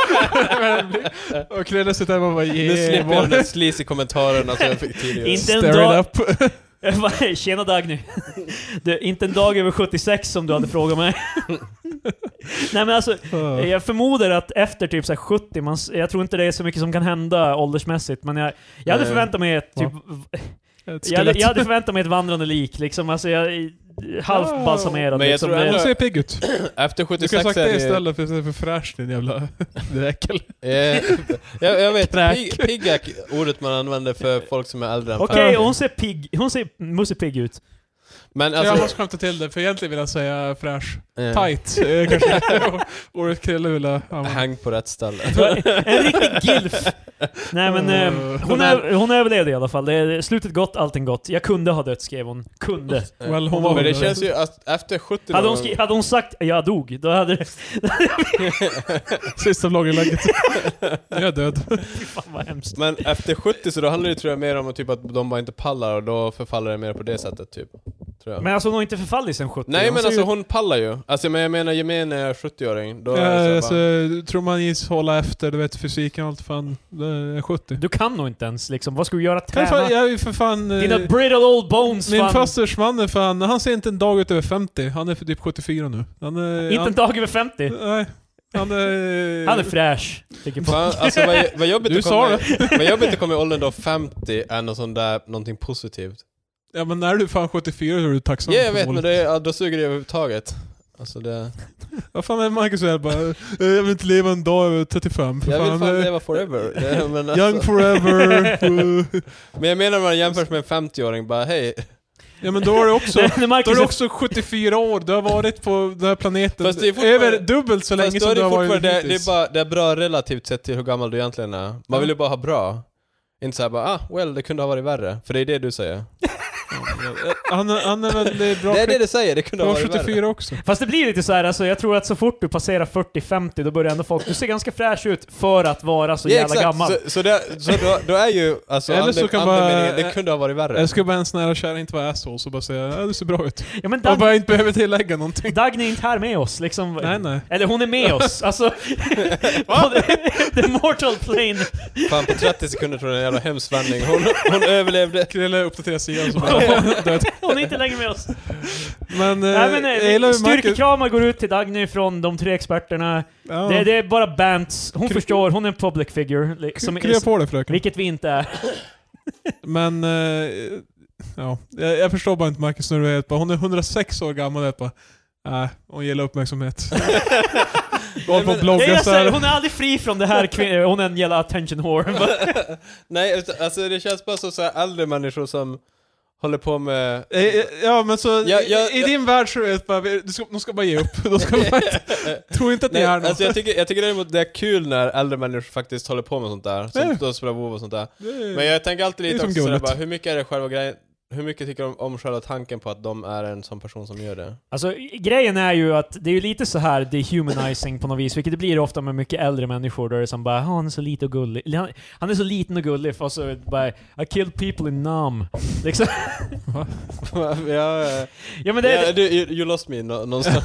på Och Krille sitter där och bara
nu
yeah
slipper jag de
boy.
där sleazy kommentarerna som jag fick tidigare.
Inte en
Stare
dag...
it up.
Vad- Tjena Dagny. Du, inte en dag över 76 som du hade frågat mig. Nej men alltså, jag förmodar att efter typ så här 70, man, s- jag tror inte det är så mycket som kan hända åldersmässigt, men jag, jag hade
Nej.
förväntat mig ett, typ,
Ett
jag, hade,
skelett.
jag hade förväntat mig ett vandrande lik liksom, alltså jag, halvt balsamerad
Men jag
liksom.
tror ändå-
Hon
det,
ser pigg ut.
Efter
Du kan ha
76
sagt
är
det
ni-
istället för, för fräsch din jävla dräkel.
Eh, jag, jag vet,
Kräk.
pig, pigg är ordet man använder för folk som är äldre än
Okej, och hon ser pigg, hon ser musse pigg ut.
Men
jag
alltså...
måste skämta till det, för egentligen vill jag säga fräsch.
eh,
Tight, eh, kanske ordet Krille vill ha. använda.
Häng på rätt ställe.
En riktig gilf! Nej men, eh, hon, är, hon överlevde i alla fall. Det är slutet gott, allting gott. Jag kunde ha dött skrev hon. Kunde.
Well, hon var
Eh, Men det
väl-
känns ju att efter 70
Hade
någon
hon,
gång-
skri- hade hon sagt jag dog, då hade det...
Sista vlogginlägget. Nu är jag död.
Fan vad hemskt.
Men efter 70 så då handlar det tror jag mer om att typ att de bara inte pallar och då förfaller det mer på det sättet typ. Tror jag.
Men alltså hon har inte förfallit sen 70.
Nej
Hon
men
ser
alltså
ju-
hon pallar ju. Alltså men jag menar gemene 70-åring. Då är
Ja,
det
alltså,
så här
tror man gis hålla efter, du vet fysiken och allt fan. Det är 70.
Du kan nog inte ens liksom. Vad ska du göra?
Kan
Träna?
fan, jag är ju för fan... eh,
Dina brittle old bones
min
fan.
fasters man är fan, han ser inte en dag ut över 50. Han är för typ 74 nu. Han är...
Inte
han,
en dag över 50.
Nej. Han är...
Han är fräsch. tycker jag.
Fan, alltså vad, vad jobbigt
Du
att
sa
komma, vad jobbigt att komma i åldern då 50 är något sånt där, någonting positivt.
Ja men när du är fan 74 så är du tacksam
Ja jag
för
vet men
målet.
det, är- ja, då suger det överhuvudtaget. Alltså det...
Vad fan är Marcus och jag bara... eh, Jag vill inte leva en dag över 35. För
Jag vill
fan,
fan
eh,
leva forever. Ja, men,
Young
alltså,
forever.
men jag menar om man jämförs med en 50-åring bara hej.
ja men då är det också...
När
Då är
Marcus
du
är
också 74 år, du har varit på den här planeten
Fast det är fortfarande-
över dubbelt så länge
Fast då
som
är
du
det
har varit
fortfarande, det, det
hittills.
är bara, det är bra relativt sett till hur gammal du egentligen är. Man
Ja.
vill ju bara ha bra. Inte såhär bara ah, well det kunde ha varit värre. För det är det du säger.
han, är- han är väl det är bra
Det är det
skick-
du säger, det kunde ha
bra
varit värre.
74 också.
Fast det blir lite så här, alltså, jag tror att så fort du passerar 40-50 då börjar ändå folk, du ser ganska fräsch ut för att vara så
Ja,
jävla
exakt.
gammal.
Så, så, det, så då, då är ju alltså
Eller
anden,
så kan
andemeningen,
bara-
det kunde ha varit värre.
Jag skulle bara en sån här kärring inte vara asshole så bara säga ja, du ser bra ut.
Ja men
Och
Dag,
bara inte behöver tillägga någonting.
Dagny är inte här med oss liksom.
Nej nej.
Eller hon är med oss, alltså... på the, the mortal plane.
Fan på 30 sekunder tror jag det är en jävla hemsk vändning. Hon, hon överlevde.
Krille uppdaterar sidan så bara död.
Hon är inte längre med oss.
Men, eh,
Nej, men,
jag
eh,
gillar hur Marcus...
styrkekramar går ut till Dagny från de tre experterna.
Ja.
Det, det är bara bants. Hon
Kry-
förstår, hon är en public figure. li- Som
Krya
är,
på det fröken.
vilket vi inte är.
Men... eh, ja. Jag, jag förstår bara inte Marcus när du är bara, hon är 106 år gammal och jag bara... Nej, hon gillar uppmärksamhet. Du håller på att
Det är
blogga
alltså,
såhär.
hon är aldrig fri från det här, kvin- hon är en jävla attention whore.
Nej utan- alltså det känns bara som så här äldre människor som håller på med...
Eh, eh, Ja men så,
Ja, ja,
i i
ja.
din värld så är det bara, du ska, de ska bara ge upp. De ska bara, tro inte att ni
Nej,
är något.
alltså jag tycker, jag tycker däremot det är kul när äldre människor faktiskt håller på med sånt där. Som
Nej.
står och spelar WoW och sånt där.
Det är-
Men jag tänker alltid
Mm. Det är
lite
som
också sådär
gulligt.
bara, hur mycket är det själva grejen? Hur mycket tycker de om själva tanken på att de är en sån person som gör det?
Alltså i- grejen är ju att det är ju lite så här dehumanizing på något vis, vilket det blir ofta med mycket äldre människor där det är som bara "Ah, han är så liten och gullig. Eller, Han, han är så liten och gullig och så bara I killed people in Nam. Liksom.
ja, eh,
Ja men det,
ja, du, you, you lost me nå- någonstans.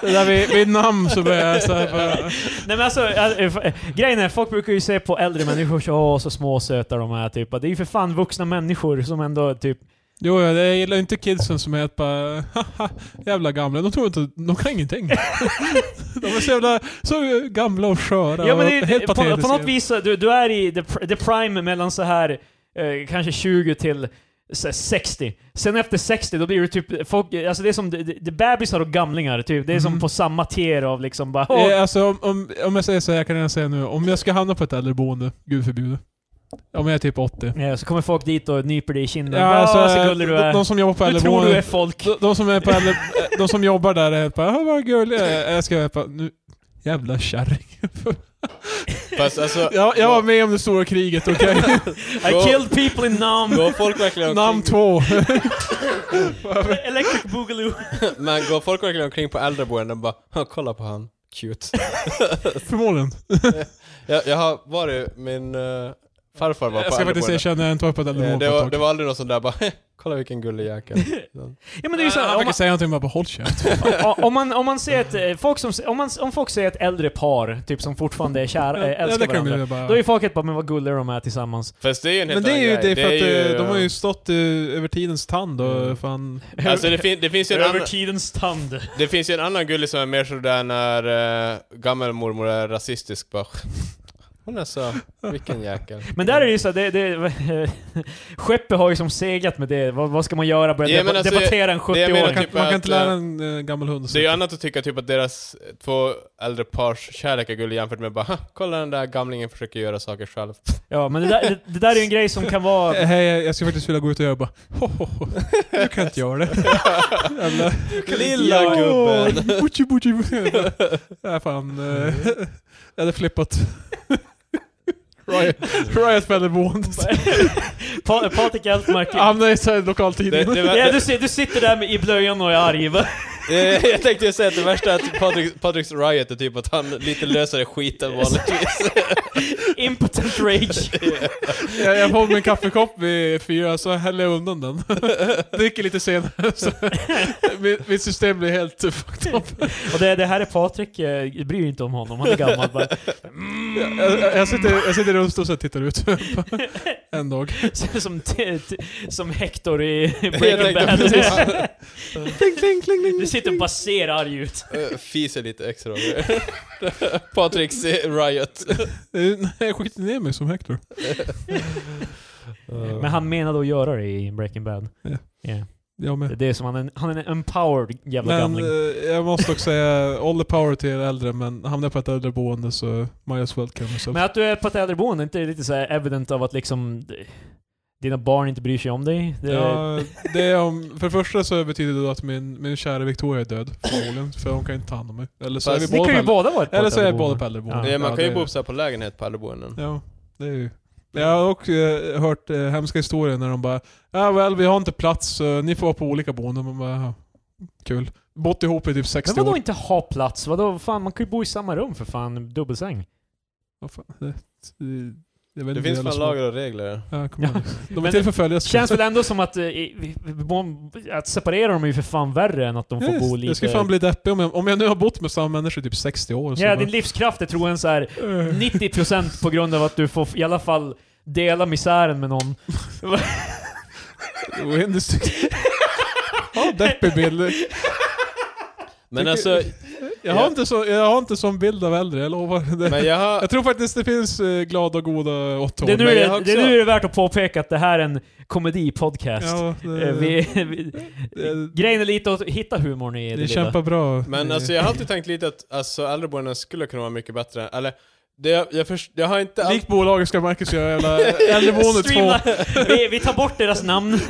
det där vid, vid namn så börjar jag såhär bara...
Nej men alltså, äh, f- äh, grejen är folk brukar ju se på äldre människor så åh så små och söta de är typ. Det är ju för fan vuxna människor som ändå typ
Jo, jag gillar inte kidsen som är bara haha, jävla gamla. De tror inte, de kan ingenting. de är så jävla, så gamla och sköra
Ja men det,
och helt
på,
patetiska.
på något vis, så- du, du är i the, pr- the prime mellan så här eh, kanske 20 till så här, 60. Sen efter 60, då blir du typ folk, alltså det är som, det, det det är bebisar och gamlingar typ. Det är som
Mhm.
på samma tier av liksom bara åh,
Eh, Alltså om, om, om jag säger så här, jag kan redan säga nu. Om jag ska hamna på ett äldreboende, gud förbjude. Om jag är typ 80.
Ja, eh, så kommer folk dit och nyper dig i kinden.
Ja,
Ja,
alltså,
vad så gullig du
de,
är.
de som jobbar på
Du tror du är
äldreboendet,
folk.
de, de, som är på äldre, eh, de som jobbar där är helt bara "Ah, vad gullig jag är." Jag ska vara bara, nu, jävla kärring.
Fast alltså,
Jag, jag var med om det stora kriget, okej?
I killed people in Nam.
går folk verkligen omkring,
Namn två.
Electric Boogaloo.
men går folk verkligen omkring på äldreboenden och bara "Ha, kolla på han, cute.
Förmodligen.
Jag, jag har varit, min eh, farfar var på
Jag ska faktiskt
äldreboende.
erkänna, jag har inte varit på ett
Eh,
äldreboende
det,
på
var,
ett
det
tag.
var aldrig någon sån där bara kolla vilken gullig jäkel.
Ja men det är ju så här,
Han
om,
försöker säga någonting bara bara håll käft.
man, om man, om man ser ett, eh, folk som, om, man, om folk ser ett äldre par, typ som fortfarande är kära, eh,
Ja,
älskar
det kan
varandra.
bli bara.
Då är ju folket bara 'Men vad gulliga de är tillsammans'
Fast det är ju en helt
Men det är ju
annan grej.
det för att
är
eh, de har ju stått eh, över tidens tand och
Mm.
fan...
Alltså det, fin, det, finns ju en
Över
annan,
tidens tand.
det finns ju en annan gullig som är mer sådär när uh, gammelmormor är rasistisk bara. Hon är så, vilken jäkel.
Men där är det ju så här, det, det, Skeppet har ju som seglat med det, vad, vad ska man göra? Börja
Ja, men
deba-
alltså,
debattera en 70
jag menar
år?
Man kan,
typ
man
att,
kan inte lära en eh, gammal hund
Det är ju annat att tycka typ att deras två äldre pars kärlek är gullig jämfört med bara "Ha, kolla den där gamlingen försöker göra saker själv.
Ja men det där, det, det där är ju en grej som kan vara...
Eh, Hej, jag skulle faktiskt vilja gå ut och göra bara ho, ho, ho. Du kan inte göra det. Jävla...
Lilla
Ja,
gubben.
Butchi, butchi, butchi. Ja, fan. eh, Jag hade flippat. Riot, riot på äldreboendet.
Pa, Patrik Elfmark...
Hamnade i så här
Det,
lokaltidningen.
det,
Ja,
det,
du, ser- du sitter där med, i blöjan och är arg va?
Eh, jag tänkte ju säga att det värsta är att Patrick, Patricks riot är typ att han lite lösare skit än vanligtvis.
Impotent rage.
Jag, jag får min kaffekopp vid fyra, så häller jag undan den. Dricker lite senare, så mitt, mitt system blir helt fucked up.
Och det, det här är Patrik, eh, bryr ju inte om honom, han är gammal bara. Mm.
Jag, jag, jag sitter, jag sitter i rullstol och tittar ut. en dag.
Mm. Ser ut som, t- t- som Hector i
Jag
Breaking
tänkte
Bad.
precis.
Kling, kling, kling, kling.
Du sitter och bara ser arg ut.
Eh, Fiser lite extra. Patricks eh, riot.
Eh, nej, Jag skiter ner mig som Hector.
Men han menade att göra det i Breaking Bad.
Ja.
Ja.
Jag
Det
med.
är det som han är, en- han är en empowered jävla
Men
gamling.
eh, jag måste också säga, all the power till er äldre, men hamnar jag på ett äldreboende så might as well kill myself.
Men att du är på ett äldreboende, inte det lite så här evident av att liksom d- dina barn inte bryr sig om dig? Det,
Ja, det är om, för det första så betyder det att min, min kära Victoria är död, förmodligen. För hon kan inte ta hand om mig. Eller så
Fast
är vi
ni
båda
kan
på
ju
äldre-
båda vara på
Eller
ett
så är vi
äldreboende.
båda på äldreboende.
Ja.
Nej, man kan
det
ju
är-
bo så här på lägenhet på äldreboenden.
Ja, det är ju... Jag har också eh, hört eh, hemska historier när de bara ja väl, vi har inte plats, så ni får vara på olika boenden. Man bara, "Jaha, kul. Bott ihop i typ
Men
60
vadå
år.
inte ha plats? Vadå, fan man kan ju bo i samma rum för fan, dubbelsäng.
Vad fan, det, det, jag vet
Det
inte,
finns
jävla
fan
små-
lagar och regler.
Ja, jag kommer ihåg det. De är
Men
till för följas.
Känns väl ändå som att, eh, i- vi- vi- att separera dem är ju för fan värre än att de får
Yes,
bo lite...
Jag skulle fan bli deppig om jag, om jag nu har bott med samma människor i typ 60 år. Så
ja,
bara,
din livskraft är troligen så här
eh,
90% på grund av att du får i alla fall dela misären med någon.
"Äh, oändligt- Ja, deppig bild.
Men
Tycker-
alltså,
Jag har,
Ja.
inte så, jag har inte sån bild av äldre, jag lovar. Det.
men jag har...
Jag tror faktiskt det finns eh, glada och goda åtta
Det är, nu,
men jag
det,
har
är
också-
nu det är värt att påpeka att det här är en komedipodcast.
Ja, det,
Eh, vi, vi,
det,
grejen är lite att hitta humorn i det
ni
lilla.
kämpar bra.
Men
Ni-
alltså jag har alltid tänkt lite att alltså, äldreboenden skulle kunna vara mycket bättre. Eller, det, jag, jag, först, jag har inte allt...
Likt bolaget ska Marcus göra jävla äldreboende
Streamla-
2.
vi, vi tar bort deras namn,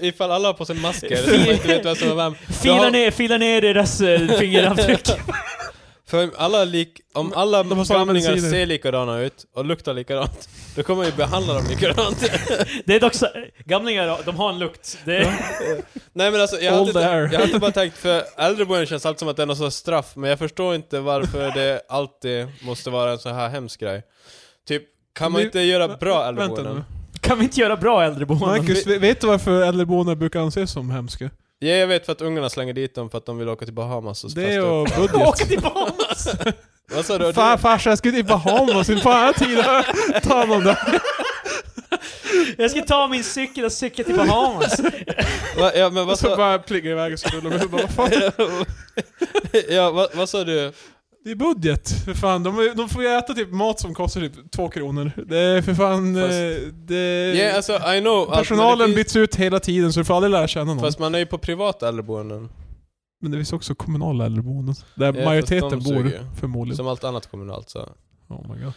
Ifall alla har på sig masker så man inte vet vem som är vem. Jag
filar
har-
ner, filar ner deras eh, fingeravtryck.
För alla lik, om alla
De måste använda
gamlingar
sidor.
ser likadana ut och luktar likadant, då kommer man ju behandla dem likadant.
Det är dock så, gamlingar, de har en lukt. Det,
Nej men alltså, jag
All
hade,
there.
jag hade bara tänkt, för äldreboenden känns alltid som att det är någon sorts straff, men jag förstår inte varför det alltid måste vara en så här hemsk grej. Typ, kan man
Nu-
inte göra bra
Vänta nu.
äldreboenden?
Kan vi inte göra bra äldreboenden?
Marcus, ve- vet du varför äldreboenden brukar anses som hemska?
Ja, jag vet för att ungarna slänger dit dem för att de vill åka till Bahamas och
Det är
festa upp.
ju
Åka
budget.
till Bahamas!
Vad sa du?
Fan farsan, jag skulle till Bahamas, inte fan jag har tid att ta hand om det.
Jag ska ta min cykel och cykla till Bahamas.
Va, ja, men vad
så
sa...
bara plingar iväg och så rullar vi bara, vad fan?
ja, vad, vad sa du?
Det är budget, för fan. De, är- de får ju äta typ mat som kostar typ två kronor. Det är för fan...
Fast-
eh, Det,
Ja, alltså I know... att- men
personalen
det finns-
byts ut hela tiden så du får aldrig lära känna någon.
Fast man är ju på privata äldreboenden.
Men det finns också kommunala äldreboenden. Där
fast
majoriteten
de
bor,
suger.
förmodligen.
Som liksom allt annat kommunalt så.
Oh my God.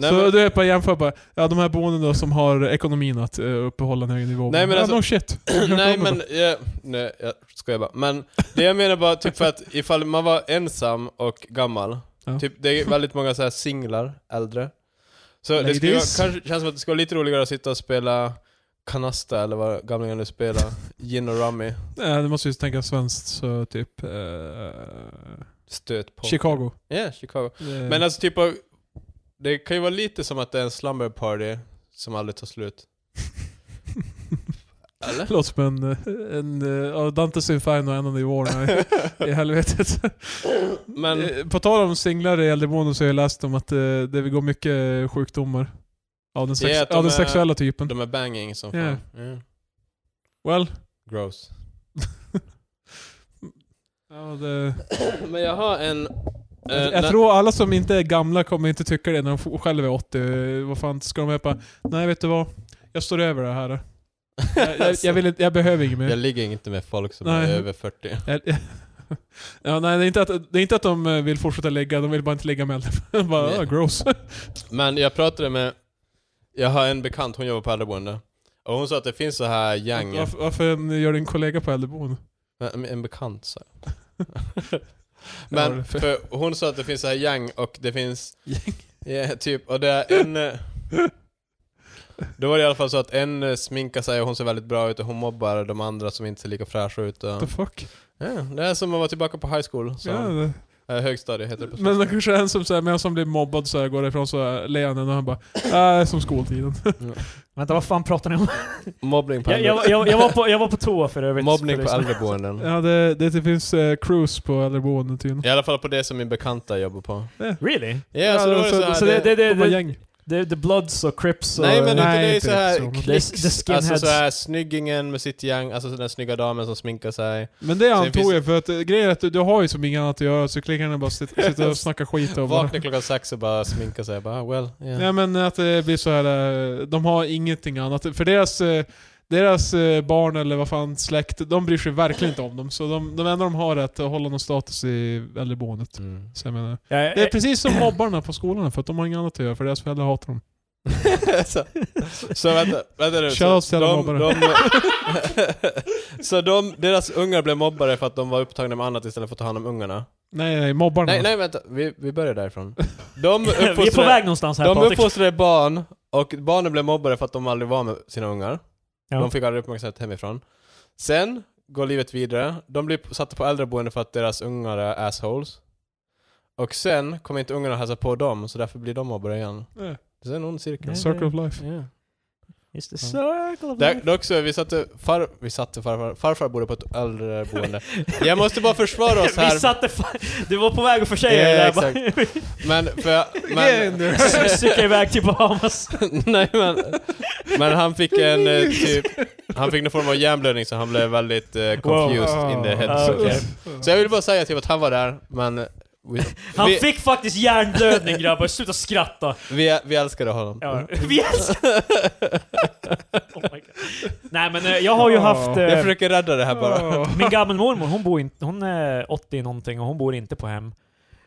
Nej,
så
men,
du är bara jämför bara, ja de här boendena som har ekonomin att uh, uppehålla en hög nivå.
Nej, men
ja,
alltså-
no shit.
nej men, ja, nej jag skojar bara. Men det jag menar bara typ för att ifall man var ensam och gammal,
Ja.
typ det är väldigt många så här singlar, äldre. Så det skulle vara,
Ladies.
kanske känns som att det skulle vara lite roligare att sitta och spela Kanasta eller vad gamlingar nu spelar, Gin och Rummy,
Nej, Eh, du måste ju tänka svenskt, så typ... eh,
stöt på.
Chicago.
Ja, Chicago.
Eh,
Men alltså typ av, det kan ju vara lite som att det är en slumber party som aldrig tar slut. Eller?
Låter som en, en, eh, av Dantes Inferno en av Warner i helvetet.
Men,
Eh, På tal om singlar i äldreboenden så har jag läst om att eh, det går mycket eh, sjukdomar av den, sex,
Ja, att de
av den
är-
sexuella typen.
de är banging som fan.
Ja.
Ja.
Well,
Gross.
ja, det,
Men jag har en... eh,
jag, jag tror alla som inte är gamla kommer inte tycka det när de f- själva är 80. Eh, Vad fan ska de bara, nej vet du vad? Jag står över det här. Jag, jag, jag, vill, inte- jag behöver inget mer.
jag ligger inte med folk som
Nej.
är över 40.
Jag- Ja, nej, det, är inte att, det är inte att de eh, vill fortsätta lägga, de vill bara inte lägga med äldre. bara,
Nej.
ah, gross.
Men jag pratade med... Jag har en bekant, hon jobbar på äldreboende. Och hon sa att det finns så här gäng.
Varför, varför gör din kollega på äldreboende?
Men, En bekant sa jag.
Ja, det är
Men
för-
för hon sa att det finns så här gäng och det finns... Ja, typ, och det är en... eh, Då var det i alla fall så att en eh, sminkar sig och hon ser väldigt bra ut och hon mobbar de andra som inte ser lika fräscha ut. Och,
What the fuck?
ja, det är som att vara tillbaka på high school. Så,
Ja, det-
eh, högstadiet heter det på
Men det kanske är en som, så här, medan som blir mobbad så här, går ifrån så här, ler han och han bara äh, det är som skoltiden.
Vänta, vad fan pratar ni om?
Mobbning på
Jag, jag, jag, jag, var, på, jag var på toa för övrigt.
Mobbning
för
på
lyssna.
äldreboenden.
ja, det, det, det finns eh, cruise på äldreboenden tydligen.
I alla fall på det som min bekanta jobbar på.
Really?
Ja, så då var det så, här,
så det- det-
De var
det-
gäng.
The, the Bloods och Crips och...
Nej men
Nej,
inte det är
inte
så här
riktigt så.
the,
klicks.
the skinheads.
Alltså så här snyggingen med sitt gäng, alltså den snygga damen som sminkar sig.
Men det antog
finns-
jag för att eh, grejen är att du, du har ju som inget annat att göra så klickar och bara sitter, sitter och snackar skit och bara.
Vaknar klockan sex och bara sminkar sig. Bara, well, yeah.
Nej men att det blir så här. eh, de har ingenting annat. För deras, eh, deras eh, barn eller vad fan släkt, de bryr sig verkligen inte om dem. Så de, de enda de har är att hålla någon status i äldreboendet.
Mm.
Så jag menar,
Ja,
Det är precis som mobbarna på skolan för att de har inget annat att göra för deras föräldrar hatar dem.
så, så vänta, vänta nu.
Shoutouts till
Så
alla
de,
mobbare.
de, så de, deras ungar blev mobbare för att de var upptagna med annat istället för att ta hand om ungarna?
Nej, nej, mobbarna.
Nej, nej vänta. Vi, vi börjar därifrån. De
vi är på
uppfostrade,
väg någonstans här
de
Patrik.
uppfostrade barn, och barnen blev mobbade för att de aldrig var med sina ungar.
Ja.
De fick aldrig uppmärksamhet hemifrån. Sen går livet vidare. De blir satta på äldreboende för att deras ungar är assholes. Och sen kommer inte ungarna hälsa på dem, så därför blir de mobbade igen.
Eh,
Det är en ond cirkel.
Circle of life.
Ja.
It's the circle of
Där,
life.
dock så, vi satte, far, vi satte farfar, farfar bodde på ett äldreboende. Jag måste bara försvara oss
Vi
här.
satte fan, du var på väg att försäga dig
Ja,
där bara.
Men, för, men,
Cykla iväg till Bahamas.
nej, men, men han fick en eh, typ, han fick någon form av hjärnblödning så han blev väldigt eh, confused in the head.
Ah,
så-
okej.
Så jag vill bara säga typ att han var där, men vi,
Han
vi,
fick faktiskt hjärnblödning grabbar, sluta skratta.
vi, vi älskade honom.
Ja. Vi älskar... oh my God. Nej men eh, jag har ju
Ja.
haft... eh,
Jag försöker rädda det här bara.
Ah.
Min gammelmormor, hon bor inte... Hon är 80 någonting och hon bor inte på hem.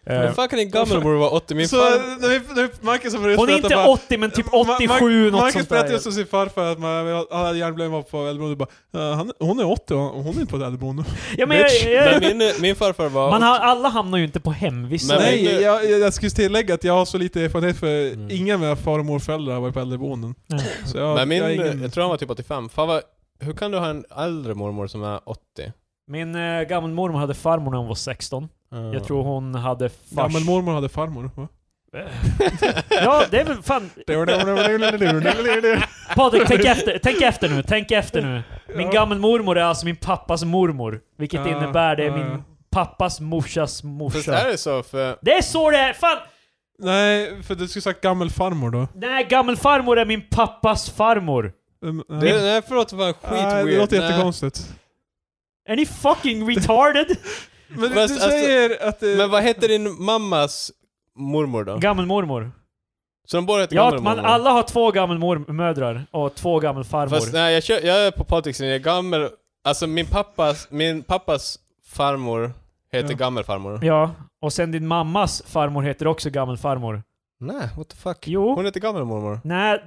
Eh,
Hur fan kan din gammelmor vara 80? Min
Så
far...
när vi- när vi- Marcus har berättat
hon är inte 80 men typ 87 något
Marcus
sånt
berättade
där.
just om sin farfar att man, han hade hjärnblödning på äldreboende bara "Eh, han, Hon är 80 och hon är inte på ett äldreboende.
Ja, men jag,
bitch.
jag,
Men min, eh, min farfar var...
man har, alla hamnar ju inte på hem, vissa...
Men-
Nej,
Nej,
jag, jag, jag skulle tillägga att jag har så lite erfarenhet för
Mm.
inga av mina far och morföräldrar har varit på äldreboenden.
Nej.
Så jag,
men min,
jag har
jag,
ingen...
tror han var typ 85. Fan vad, hur kan du ha en äldre mormor som är 80?
Min äh, gammelmormor hade farmor när hon var 16.
Mm.
Jag tror hon hade fars... Eh,
Gammelmormor hade farmor. va?
Ja, det är väl fan... Patrik, tänk efter, tänk efter nu, tänk efter nu. Min
Ja.
gammelmormor är alltså min pappas mormor. Vilket
Ah,
innebär det är
ah,
min
ja.
pappas morsas
Fast är
morsa.
det så? För,
Det är så det är! Fan!
Nej, för du skulle sagt gammelfarmor då.
Nej, gammelfarmor är min pappas farmor.
Um, nej.
Det, nej förlåt, det var skit
Nej, det
weird.
låter
Nej.
jättekonstigt.
Är ni fucking retarded?
Men du,
Fast, alltså-
du säger att eh, det...
Men vad hette din mammas mormor då?
Gammelmormor.
Så de båda hette
Ja,
gammelmormor?
man, alla har två gammelmödrar och två gammelfarmor.
Fast nej, jag, kör, jag är på Patricks linje. Gammel... Alltså min pappas, min pappas farmor heter
Ja.
gammelfarmor.
Ja, och sen din mammas farmor heter också gammelfarmor.
Nej, what the fuck?
Jo.
Hon heter gammelmormor.
Nej.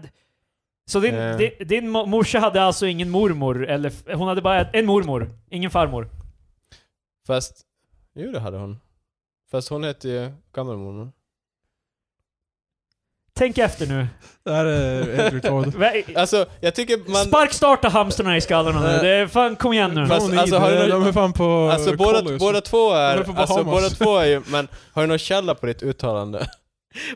Så din,
Eh.
din, din mo- morsa hade alltså ingen mormor, eller f- hon hade bara en mormor, ingen farmor.
Fast... Jo, det hade hon. Fast hon heter ju gammelmormor.
Tänk efter nu.
Det här är helt retard.
Vä-
Alltså, jag tycker man...
Sparkstarta hamstrarna i skallarna nu.
Eh.
Det är, fan, kom igen nu.
Fast-
Någon
alltså,
id-
har du-
de är fan på
Alltså båda,
college.
båda två
De
är...
är från
Alltså båda
Bahamas.
två är ju... Men har du någon källa på ditt uttalande?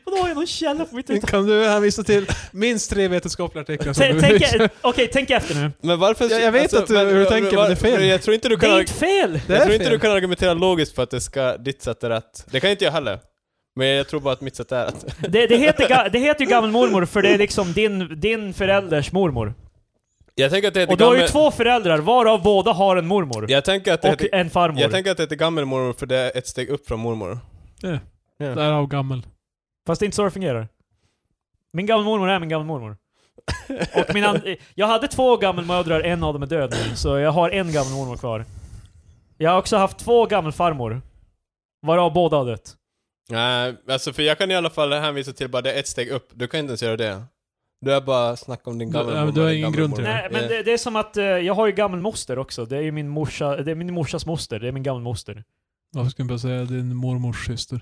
Vadå, har jag någon källa på mitt uttal?
Kan du hänvisa till minst tre vetenskapliga artiklar som
Tänk,
du
tänk, e- okej, tänk efter nu.
Men varför...
Ja, jag vet att du- hur du tänker, men det är fel.
Jag tror inte du
Det
kan...
är inte fel!
Det
jag
är
tror inte
fel.
du kan argumentera logiskt för att det ska, ditt sätt är rätt. Det kan inte jag heller. Men jag tror bara att mitt sätt är rätt.
Det, det, heter, ga- det heter ju gammelmormor för det är liksom din, din förälders mormor.
Jag tänker att det heter
Och du har ju
gammel-
två föräldrar, varav båda har en mormor.
Jag tänker att det
Och
heter...
en farmor.
Jag tänker att det heter gammelmormor för det är ett steg upp från mormor.
Därav gammel.
Fast det är inte så det fungerar. Min gammelmormor är min gammelmormor. Och min an- jag hade två gammelmödrar, en av dem är död nu, så jag har en gammelmormor kvar. Jag har också haft två gammelfarmor. Varav båda har dött.
Nej, alltså för jag kan i alla fall hänvisa till bara det är ett steg upp. Du kan inte ens göra det. Du är bara snack om din
Du-
gamla
ja, men du har ingen grund till det.
Nej, men det, det är som att eh, jag har ju gammelmoster också. Det är ju min, morsa, det är min morsas moster, det är min gammelmoster.
Varför skulle jag bara säga din mormors syster?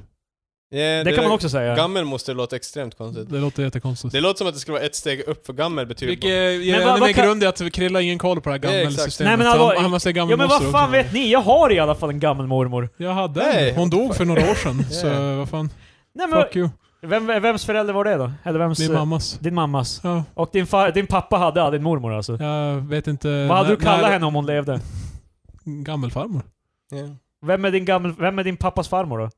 Det, kan man också säga.
Gammelmoster låter extremt konstigt.
Det låter jättekonstigt.
Det låter som att det skulle vara ett steg upp för gammel betyder
Vilket
bara-
ger
vad-
ännu
vad
mer
kan-
grund i att Krilla har ingen koll på det här
Nej, exakt.
gammelsystemet.
Nej, men
han,
allvar-
han måste säga gammal
ja men vad
moster
fan
också.
vet ni? Jag har i alla fall en gammelmormor.
Jag hade
Nej,
en. Hon dog för några år sedan,
Yeah.
så vad fan.
Nej, men,
Fuck you.
vem, vems förälder var det då? Eller vems?
Min
eh,
mammas.
Din mammas.
Ja,
Och din, fa- din pappa hade aldrig en mormor alltså?
jag vet inte...
Vad hade
Eh, när-
du kallat
när-
henne om hon levde?
Gammelfarmor.
Ja.
Vem är din, gammel, vem är din pappas farmor då?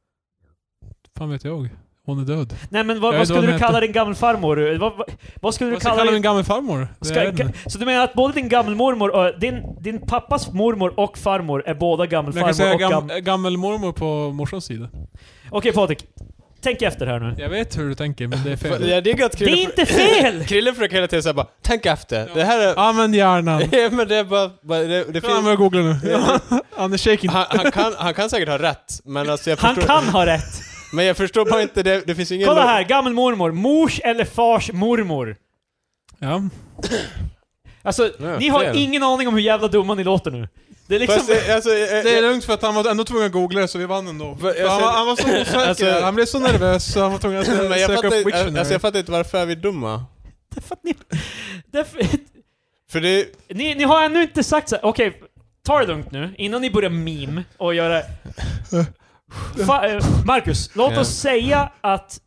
Fan vet jag. Hon är död.
Nej men
Jag
vad,
vet
vad skulle
vad
du
hon
kalla
heter.
din gammelfarmor? Vad, vad, vad skulle du
Vad ska jag kalla
kalla
min
din...
gammelfarmor? Det är
Ska,
jag inte.
ka- så du menar att både din gammelmormor och... eh, Din, din pappas mormor och farmor är båda
Men jag kan
gammelfarmor
säga
och
gam,
gammel...
gammelmormor på morsans sida.
Okej Patrik, tänk efter här nu.
Jag vet hur du tänker, men det är
För-
fel.
Jag diggar att
Det är
Krille...
inte fel!
Krille försöker hela tiden säga bara Tänk efter. Det här är...
Använd hjärnan.
Ja, men det är bara... bara det, det
Fan
finns...
vad jag googlar nu. Han är shaking.
Han, han, kan, han kan säkert ha rätt, men alltså jag
Han
förstår...
kan ha rätt!
Men jag förstår bara inte, det, det finns ingen...
Kolla
lo-
här, gammelmormor. Mors eller fars mormor.
Ja.
Alltså,
Ja,
ni har
fel.
ingen aning om hur jävla dumma ni låter nu. Det är liksom...
Fast, eh, alltså, eh,
Det är
eh,
lugnt för att han var ändå tvungen att googla det så vi vann ändå.
För jag
För han,
ser-
var, han var så osäker,
Alltså-
han blev så nervös så han var tvungen att
Men jag,
söka
fattar,
upp
inte-
Wiktionary.
alltså, jag fattar inte varför är vi dumma.
Därför att ni... Därför...
För det...
Ni, ni har ännu inte sagt så här. okej, ta det lugnt nu innan ni börjar meme och göra... Fa, eh, Marcus, låt
Ja.
oss säga att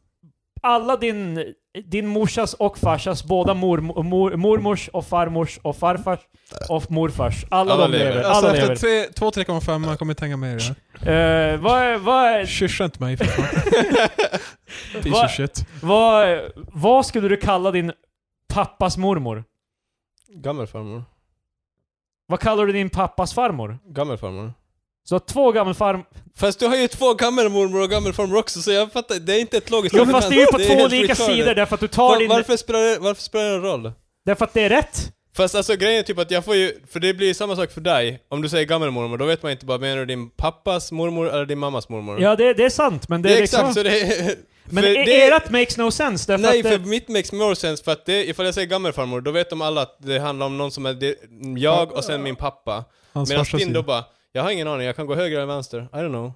alla din, din morsas och farsas, båda mor, mor, mormors och farmors och farfars och morfars, alla,
Alla
de lever.
lever.
Alla
Alltså efter
lever.
tre, två 3,5 man kommer inte hänga med i det här.
Eh, vad, är- vad, är-
Kyscha inte mig för fan. Piece
Vad-
of shit.
vad, är- vad skulle du kalla din pappas mormor?
Gammelfarmor.
Vad kallar du din pappas farmor?
Gammelfarmor.
Så att två gammelfarm...
Fast du har ju två gammelmormor och gammelfarmor också, så jag fattar, det är inte ett logiskt
Jo, fast det är ju på
Det är
två
helt
olika
retarded.
sidor därför att du tar
Var,
din...
varför, spelar det, varför spelar det roll?
Därför att det är rätt.
Fast alltså grejen är typ att jag får ju, för det blir ju samma sak för dig, om du säger gammelmormor, då vet man inte bara, menar du din pappas mormor eller din mammas mormor?
Ja, det, det är sant, men det,
det är
är liksom...
exakt så det är...
men
för
e-
det-
erat makes no sense, därför
Nej,
att det,
för mitt makes more sense, för att det, ifall jag säger gammelfarmor, då vet de alla att det handlar om någon som är det, jag och sen min pappa.
Hans
Medan
farsa
din då
sida.
bara, jag har ingen aning, jag kan gå höger eller vänster, I don't know.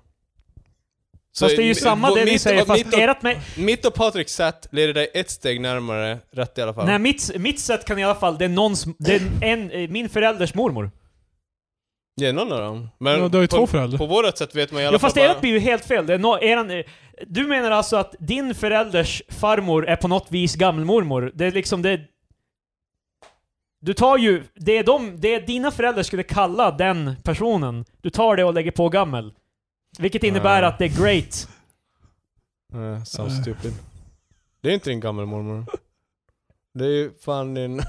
Så
Fast det är ju
mi-
samma
vår-
det ni
mitt
säger,
och,
fast
mitt, och,
erat ma-
mitt och Patriks sätt leder dig ett steg närmare rätt i alla fall.
Nej, mitt, mitt sätt kan i alla fall... Det är någons... Det är en, eh, min förälders mormor.
Ja, någon av dem. Men
Ja, du har ju
på,
två föräldrar.
På vårt sätt vet man i alla
Ja, fast
fall
erat blir ju helt fel. Det är no, eran, eh, du menar alltså att din förälders farmor är på något vis gammelmormor? Det är liksom det... Du tar ju... Det, är de, det är dina föräldrar skulle kalla den personen, du tar det och lägger på gammel. Vilket innebär
Ja.
att det är great.
bara... Eh, sounds
Nej.
stupid. Det är inte din gammelmormor. Det är ju fan din...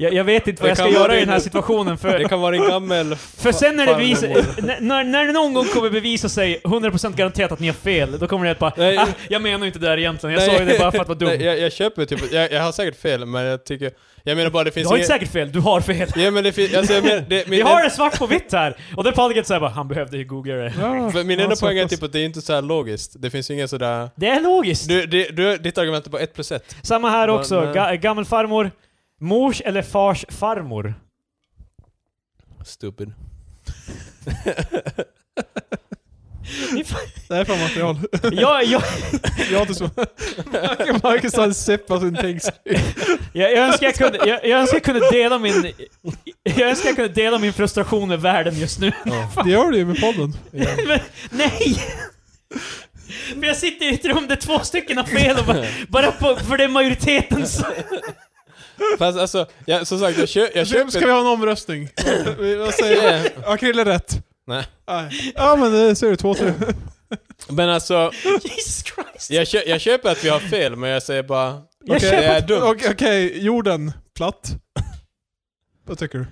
Jag, jag vet inte vad
Det
jag ska
kan vara
göra i
din-
den här situationen, för,
Det kan vara en gammal...
för sen när det
Fan,
visar,
humor.
när- när, när det någon gång kommer bevisa sig 100% garanterat att ni har fel, då kommer det att bara
Nej.
ah, jag menar ju inte det där egentligen, jag
Nej,
sa ju det bara för att vara dum.
Nej, jag, jag köper typ, jag, jag har säkert fel men jag tycker... Jag menar bara det
du
finns
har inte säkert fel, du har fel.
Ja men det finns, alltså jag menar... Det,
Vi har det svart på vitt här! Och det är Patrick säger bara, han behövde ju googla det.
Ja,
För min
ja,
enda
så
poäng är
pass.
typ att det är inte så här logiskt. Det finns ju ingen sådär...
Det är logiskt!
Du, du, du, ditt argument är bara ett plus ett.
Samma här
Men-
också, Ga gammelfarmor, mors eller fars farmor?
Stupid.
Det här är fan material.
Jag, jag,
Jag har inte så... Marcus har en sepp av sin text.
jag, jag, önskar jag, kunde, jag, jag önskar jag kunde dela min... Jag önskar jag kunde dela min frustration med världen just nu.
Det gör du ju med podden.
Men, nej! För jag sitter i ett rum där två stycken har fel och bara, bara på, för det är majoriteten så...
Fast alltså, jag, som sagt jag, kö, jag
Ska
köper...
ska vi ha en omröstning? Vi- Vad säger
Ja,
du? Har Krille rätt?
Nej.
Nej. Ja men det ser du, två tre.
Men alltså,
Jesus Christ!
jag, kö, jag köper att vi har fel men jag säger bara...
Jag
Okej.
köper
Det är
att-
dumt.
Okej, okej, jorden, platt. Vad tycker du?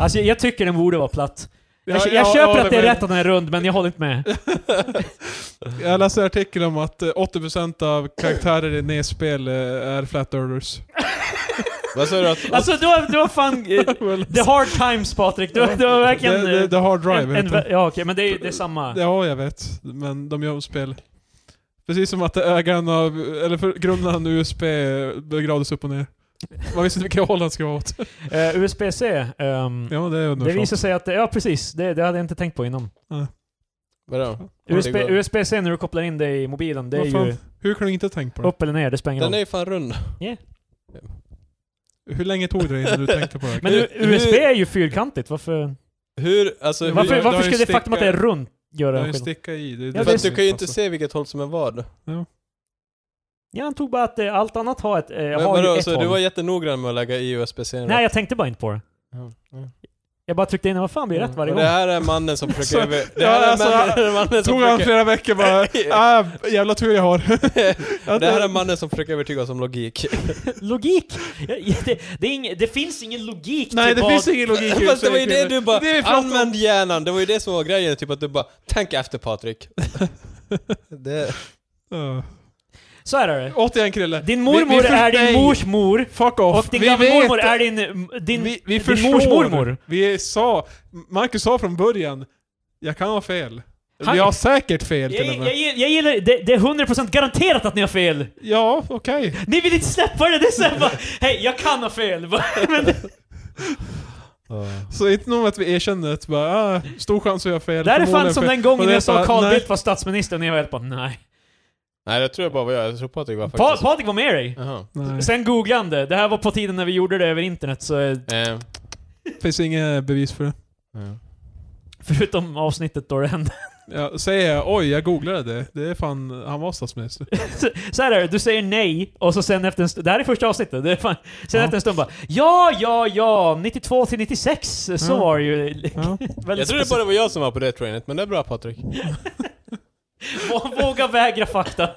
Alltså jag, jag tycker den borde vara platt. Jag, jag, köper att det är rätt att den är rund, men jag håller inte med.
Jag läste en artikel om att eh, 80% av karaktärer i NES-spel eh, är flat earthers.
Vad sa du att...
Alltså du har, du har fan... eh, The hard times Patrik, du, du har
Det
verkligen...
är hard
en,
drive.
en,
heter det.
vä- ja okej, men det är, det är samma.
Ja, jag vet. Men de gör om spel. Precis som att ägaren av, eller för- grundaren av USB begravdes upp och ner. Man visste inte vilket håll han skulle vara åt.
Mm.
Eh, USB-C, ehm,
Ja, det är
det
underbart.
visar sig att... det- Ja precis, det, det hade jag inte tänkt på innan.
Vadå?
USB,
Det går-
USB-C när du kopplar in det i mobilen, det är
Vad fan?
ju
Hur kunde du inte tänka på det?
upp eller ner, det spelar ingen
Den är
roll.
ju fan rund.
Hur länge tog det innan du tänkte på det?
Men U-
Hur-
USB är ju fyrkantigt, varför...
Hur, alltså...
det
Varför,
har
hur,
varför
ju
skulle det
sticka-
faktum att det är runt
Det
göra
är
en
en
skillnad?
sticka i. Det, är
Ja,
för
det
att du
visst,
kan ju inte
alltså.
se vilket håll som är vad.
Jag antog bara att eh, allt annat har ett, eh,
Men,
har ju
vadå,
ett
så du
håll.
var jättenoggrann med att lägga i USB-C?
Nej, jag tänkte bara inte på det. Jag bara tryckte in, vad fan blir rätt varje
Och
gång?
Det här är mannen som försöker...
Så-
över- det här
Ja,
är
alltså,
mannen, mannen som
Tog han
försöker...
flera veckor bara, ah, jävla tur jag har.
Det här är mannen som försöker övertyga oss om logik.
Logik! Jag- det, det, är ing, det finns ingen logik
Nej,
till
det
vad...
finns ingen logik i
Fast det var ju det du bara,
Det är vi pratade om.
använd hjärnan, det var ju det som var grejen, typ att du bara, tänk efter Patrik. det,
Ja.
Så här är det.
Återigen Krille.
Din
Vi- vi
mormor
för-
är din
nej.
mors mor,
Fuck
och
off.
din
Vi
gammelmormor
vet-
är din, din,
vi, vi
din
förstår.
mors mormor.
Vi sa, Marcus sa från början, jag kan ha fel.
Han-
jag har säkert fel
Jag,
till och
jag,
med.
jag, jag gillar det, det är 100% garanterat att ni har fel!
Ja, okej.
Ni vill inte släppa det, det är såhär bara, hej jag kan ha fel! Bara, Men,
Så inte nog med att vi erkänner att bara, ah, stor chans att jag har fel.
det här är fan
förmodligen
som
fel.
den
Och
gången
det är
jag sa
bara,
Carl
nej.
Bildt var statsminister och ni var helt bara nej.
Nej det tror jag bara var jag, jag tror Patrik var
Pa-
faktiskt...
Patrik var med dig!
Jaha.
Nej,
Sen googlade han det, det här var på tiden när vi gjorde det över internet så eh,
Eh,
det finns inga bevis för det.
förutom avsnittet då det hände.
Ja, säger jag, oj, jag googlade det. Det är fan, han var statsminister.
Så, så här är det, du säger nej, och så sen efter en stund, det här är första avsnittet, det är fan, sen
Ja.
efter en stund bara Ja, ja, ja, 92 till 96, så
Ja.
var det ju.
Ja.
Väldigt
Jag trodde bara det var jag som var på det trainet, men det är bra Patrik.
speciellt. Vå- Våga vägra fakta.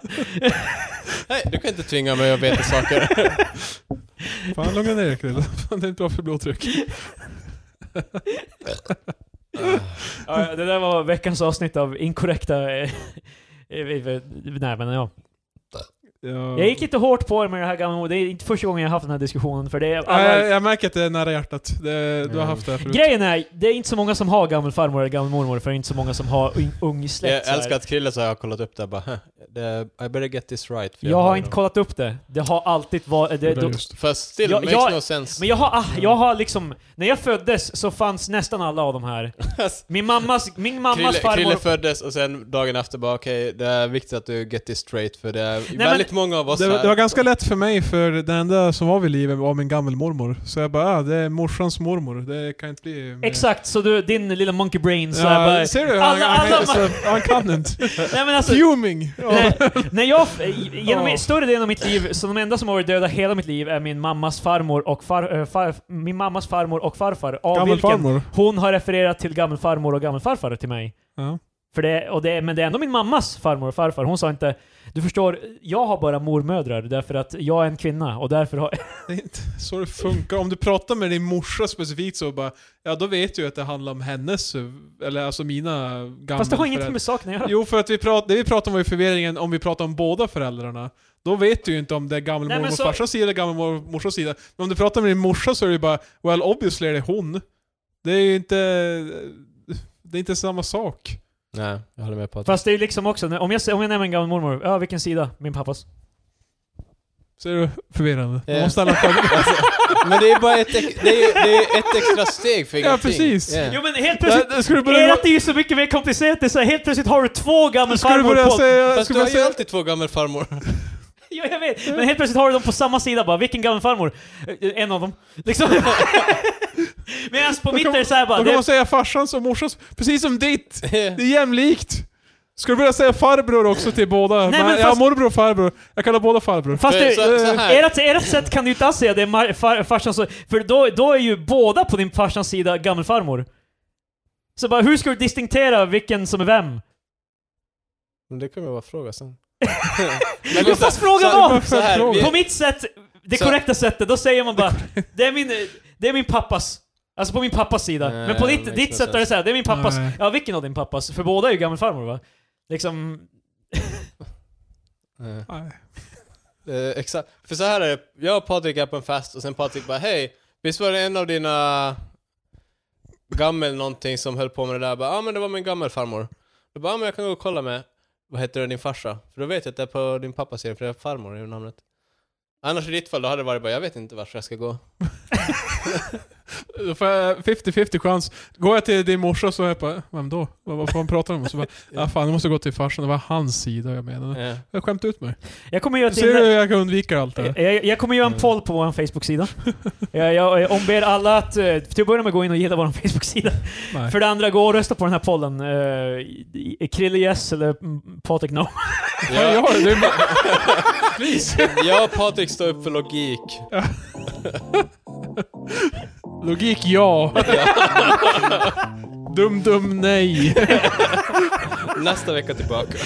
Nej, du kan inte tvinga mig att veta saker. Ah,
Fan, lugna ner dig Krille. Fan, Det är inte bra för blodtryck.
Ja, ja, det där var veckans avsnitt av inkorrekta... eh, eh, eh, Nej men ja.
Ja.
Jag gick inte hårt på er med det här gamla Det är inte första gången jag har haft den här diskussionen för det är
Nej,
alla...
jag, jag märker att det är nära hjärtat. Det, du har
Mm.
haft det här förut.
Grejen är, det är inte så många som har gammelfarmor eller gammelmormor för det är inte så många som har un- ung släkt.
Jag
så här.
älskar att Krille så har jag kollat upp det här, bara, "Huh, det, I better get this right. för
Jag har
ju
inte
dem."
kollat upp det. Det har alltid varit...
Det
Det,
är
då-
just.
Fast still,
Ja,
makes
jag-
no sense.
Men jag har, ah, jag har liksom, när jag föddes så fanns nästan alla av de här. Min mammas, min mammas
Krille,
farmor...
Krille föddes och sen dagen efter bara okej, det är viktigt att du get this straight för det är
men-
väldigt många av oss
Det,
här.
det var ganska lätt för mig, för den enda som var vid liv var min gammelmormor. Så jag bara, ah, det är morsans mormor. Det kan inte bli... mer."
Exakt, så du, din lilla monkey brain så här
Ja,
bara...
ser du? Han,
alla-
alla, han,
alla-
så, han kan inte.
Nej men alltså,
Fuming! Ja.
när, när jag, genom
Ja.
större delen av mitt liv, så de enda som har varit döda hela mitt liv är min mammas farmor och far, eh, far, min mammas farmor och farfar. Av vilken
Gammelfarmor.
hon har refererat till gammelfarmor och gammelfarfar till mig.
Ja.
För det, och det, men det är ändå min mammas farmor och farfar. Hon sa inte du förstår, jag har bara mormödrar därför att jag är en kvinna och därför har
Det är inte så det funkar. Om du pratar med din morsa specifikt så bara, ja då vet du ju att det handlar om hennes, eller alltså mina gamla
Fast det har
föräldrar.
ingenting med saken att göra.
Jo, för att vi prat, det vi pratar om i förvirringen, om vi pratar om båda föräldrarna, då vet du ju inte om det är
Nej, men
gammelmormors
så-
farsas sida eller gammelmorsas sida. Men om du pratar med din morsa så är det ju bara, well obviously är det hon. Det är ju inte... Det är inte samma sak.
Nej, jag håller med på att...
Fast det är ju liksom också, när- om jag, säger- om jag nämner en gammal mormor, ja vilken sida? Min pappas.
Ser du? Förvirrande. Man
Ja.
måste ställa frågan.
Men det är bara ett, ex- det är, det är ett extra steg för
Ja,
ingenting.
precis.
Yeah.
Jo men helt
Där-
plötsligt,
där Skulle du börja,
ert är ju så mycket mer komplicerat, det är så här, helt plötsligt har du två
skulle du
gammelfarmor
börja
på...
säga...
Fast
Skulle du
du har ju
säga
alltid två gammelfarmor.
Ja, jag vet, men helt plötsligt har du dem på samma sida bara, vilken gammelfarmor? Eh, En av dem. Liksom. Medan på mitt är det såhär bara,
då kan man
det,
säga farsans och morsans, precis som ditt!
Yeah.
Det är jämlikt! Ska du börja säga farbror också till båda?
Nej,
Nej,
men
men Jag
fast-
har morbror och farbror. Jag kallar båda farbror.
fast
För
du,
så- så här.
ert, ert sätt kan du ju inte alls säga det är mar- far, farsans, för då, då är ju båda på din farsans sida gammelfarmor. Så bara, hur ska du distinktera vilken som är vem?
Men det kommer jag bara fråga sen.
Men
lyssna,
fast fråga
så-
vad?
så här,
På
vi,
mitt sätt, det
Så-
korrekta sättet, då säger man bara det är min, det är min pappas. Alltså på min pappas sida.
Nej,
Men på
det
ditt,
makes
ditt
no
sätt är det
sense.
såhär, det är min pappas.
Nej.
Ja, vilken av din pappas? För båda är ju gammelfarmor va? Liksom...
Eh,
Nej.
eh, exakt. För så här är det, jag och Patrik är på en fest och sen Patrik bara hej, visst var det en av dina gammel någonting som höll på med det där? Jag bara, Ja ah, men det var min gammelfarmor. Då bara, ah, men jag kan gå och kolla med, vad heter din farsa? För då vet jag att det är på din pappas sida, för det är farmor i namnet. Annars i ditt fall då hade det varit bara, jag vet inte vart jag ska gå.
Då får jag 50-50 chans. Går jag till din morsa så är jag bara, vem då? Vad, vad fan pratar de om? Så bara, ja fan, jag måste gå till farsan. Det var hans sida jag menade.
Eh.
Jag skämtar ut mig.
Jag kommer göra ett
Ser du hur
inlägg.
jag kan undvika allt det här?
Jag, jag kommer göra en
Mm.
poll på vår Facebook-sida. jag, jag eh, omber alla att eh, till att börja med gå in och gilla vår Facebook-sida.
Nej.
För det andra, gå och rösta på den här pollen. Eh, i- i- Krille yes eller mm, Patrik no.
Ja, jag har det. det. är bara-
Jag och Patrik står upp för logik.
Logik ja. Dum dum nej.
Nästa vecka tillbaka.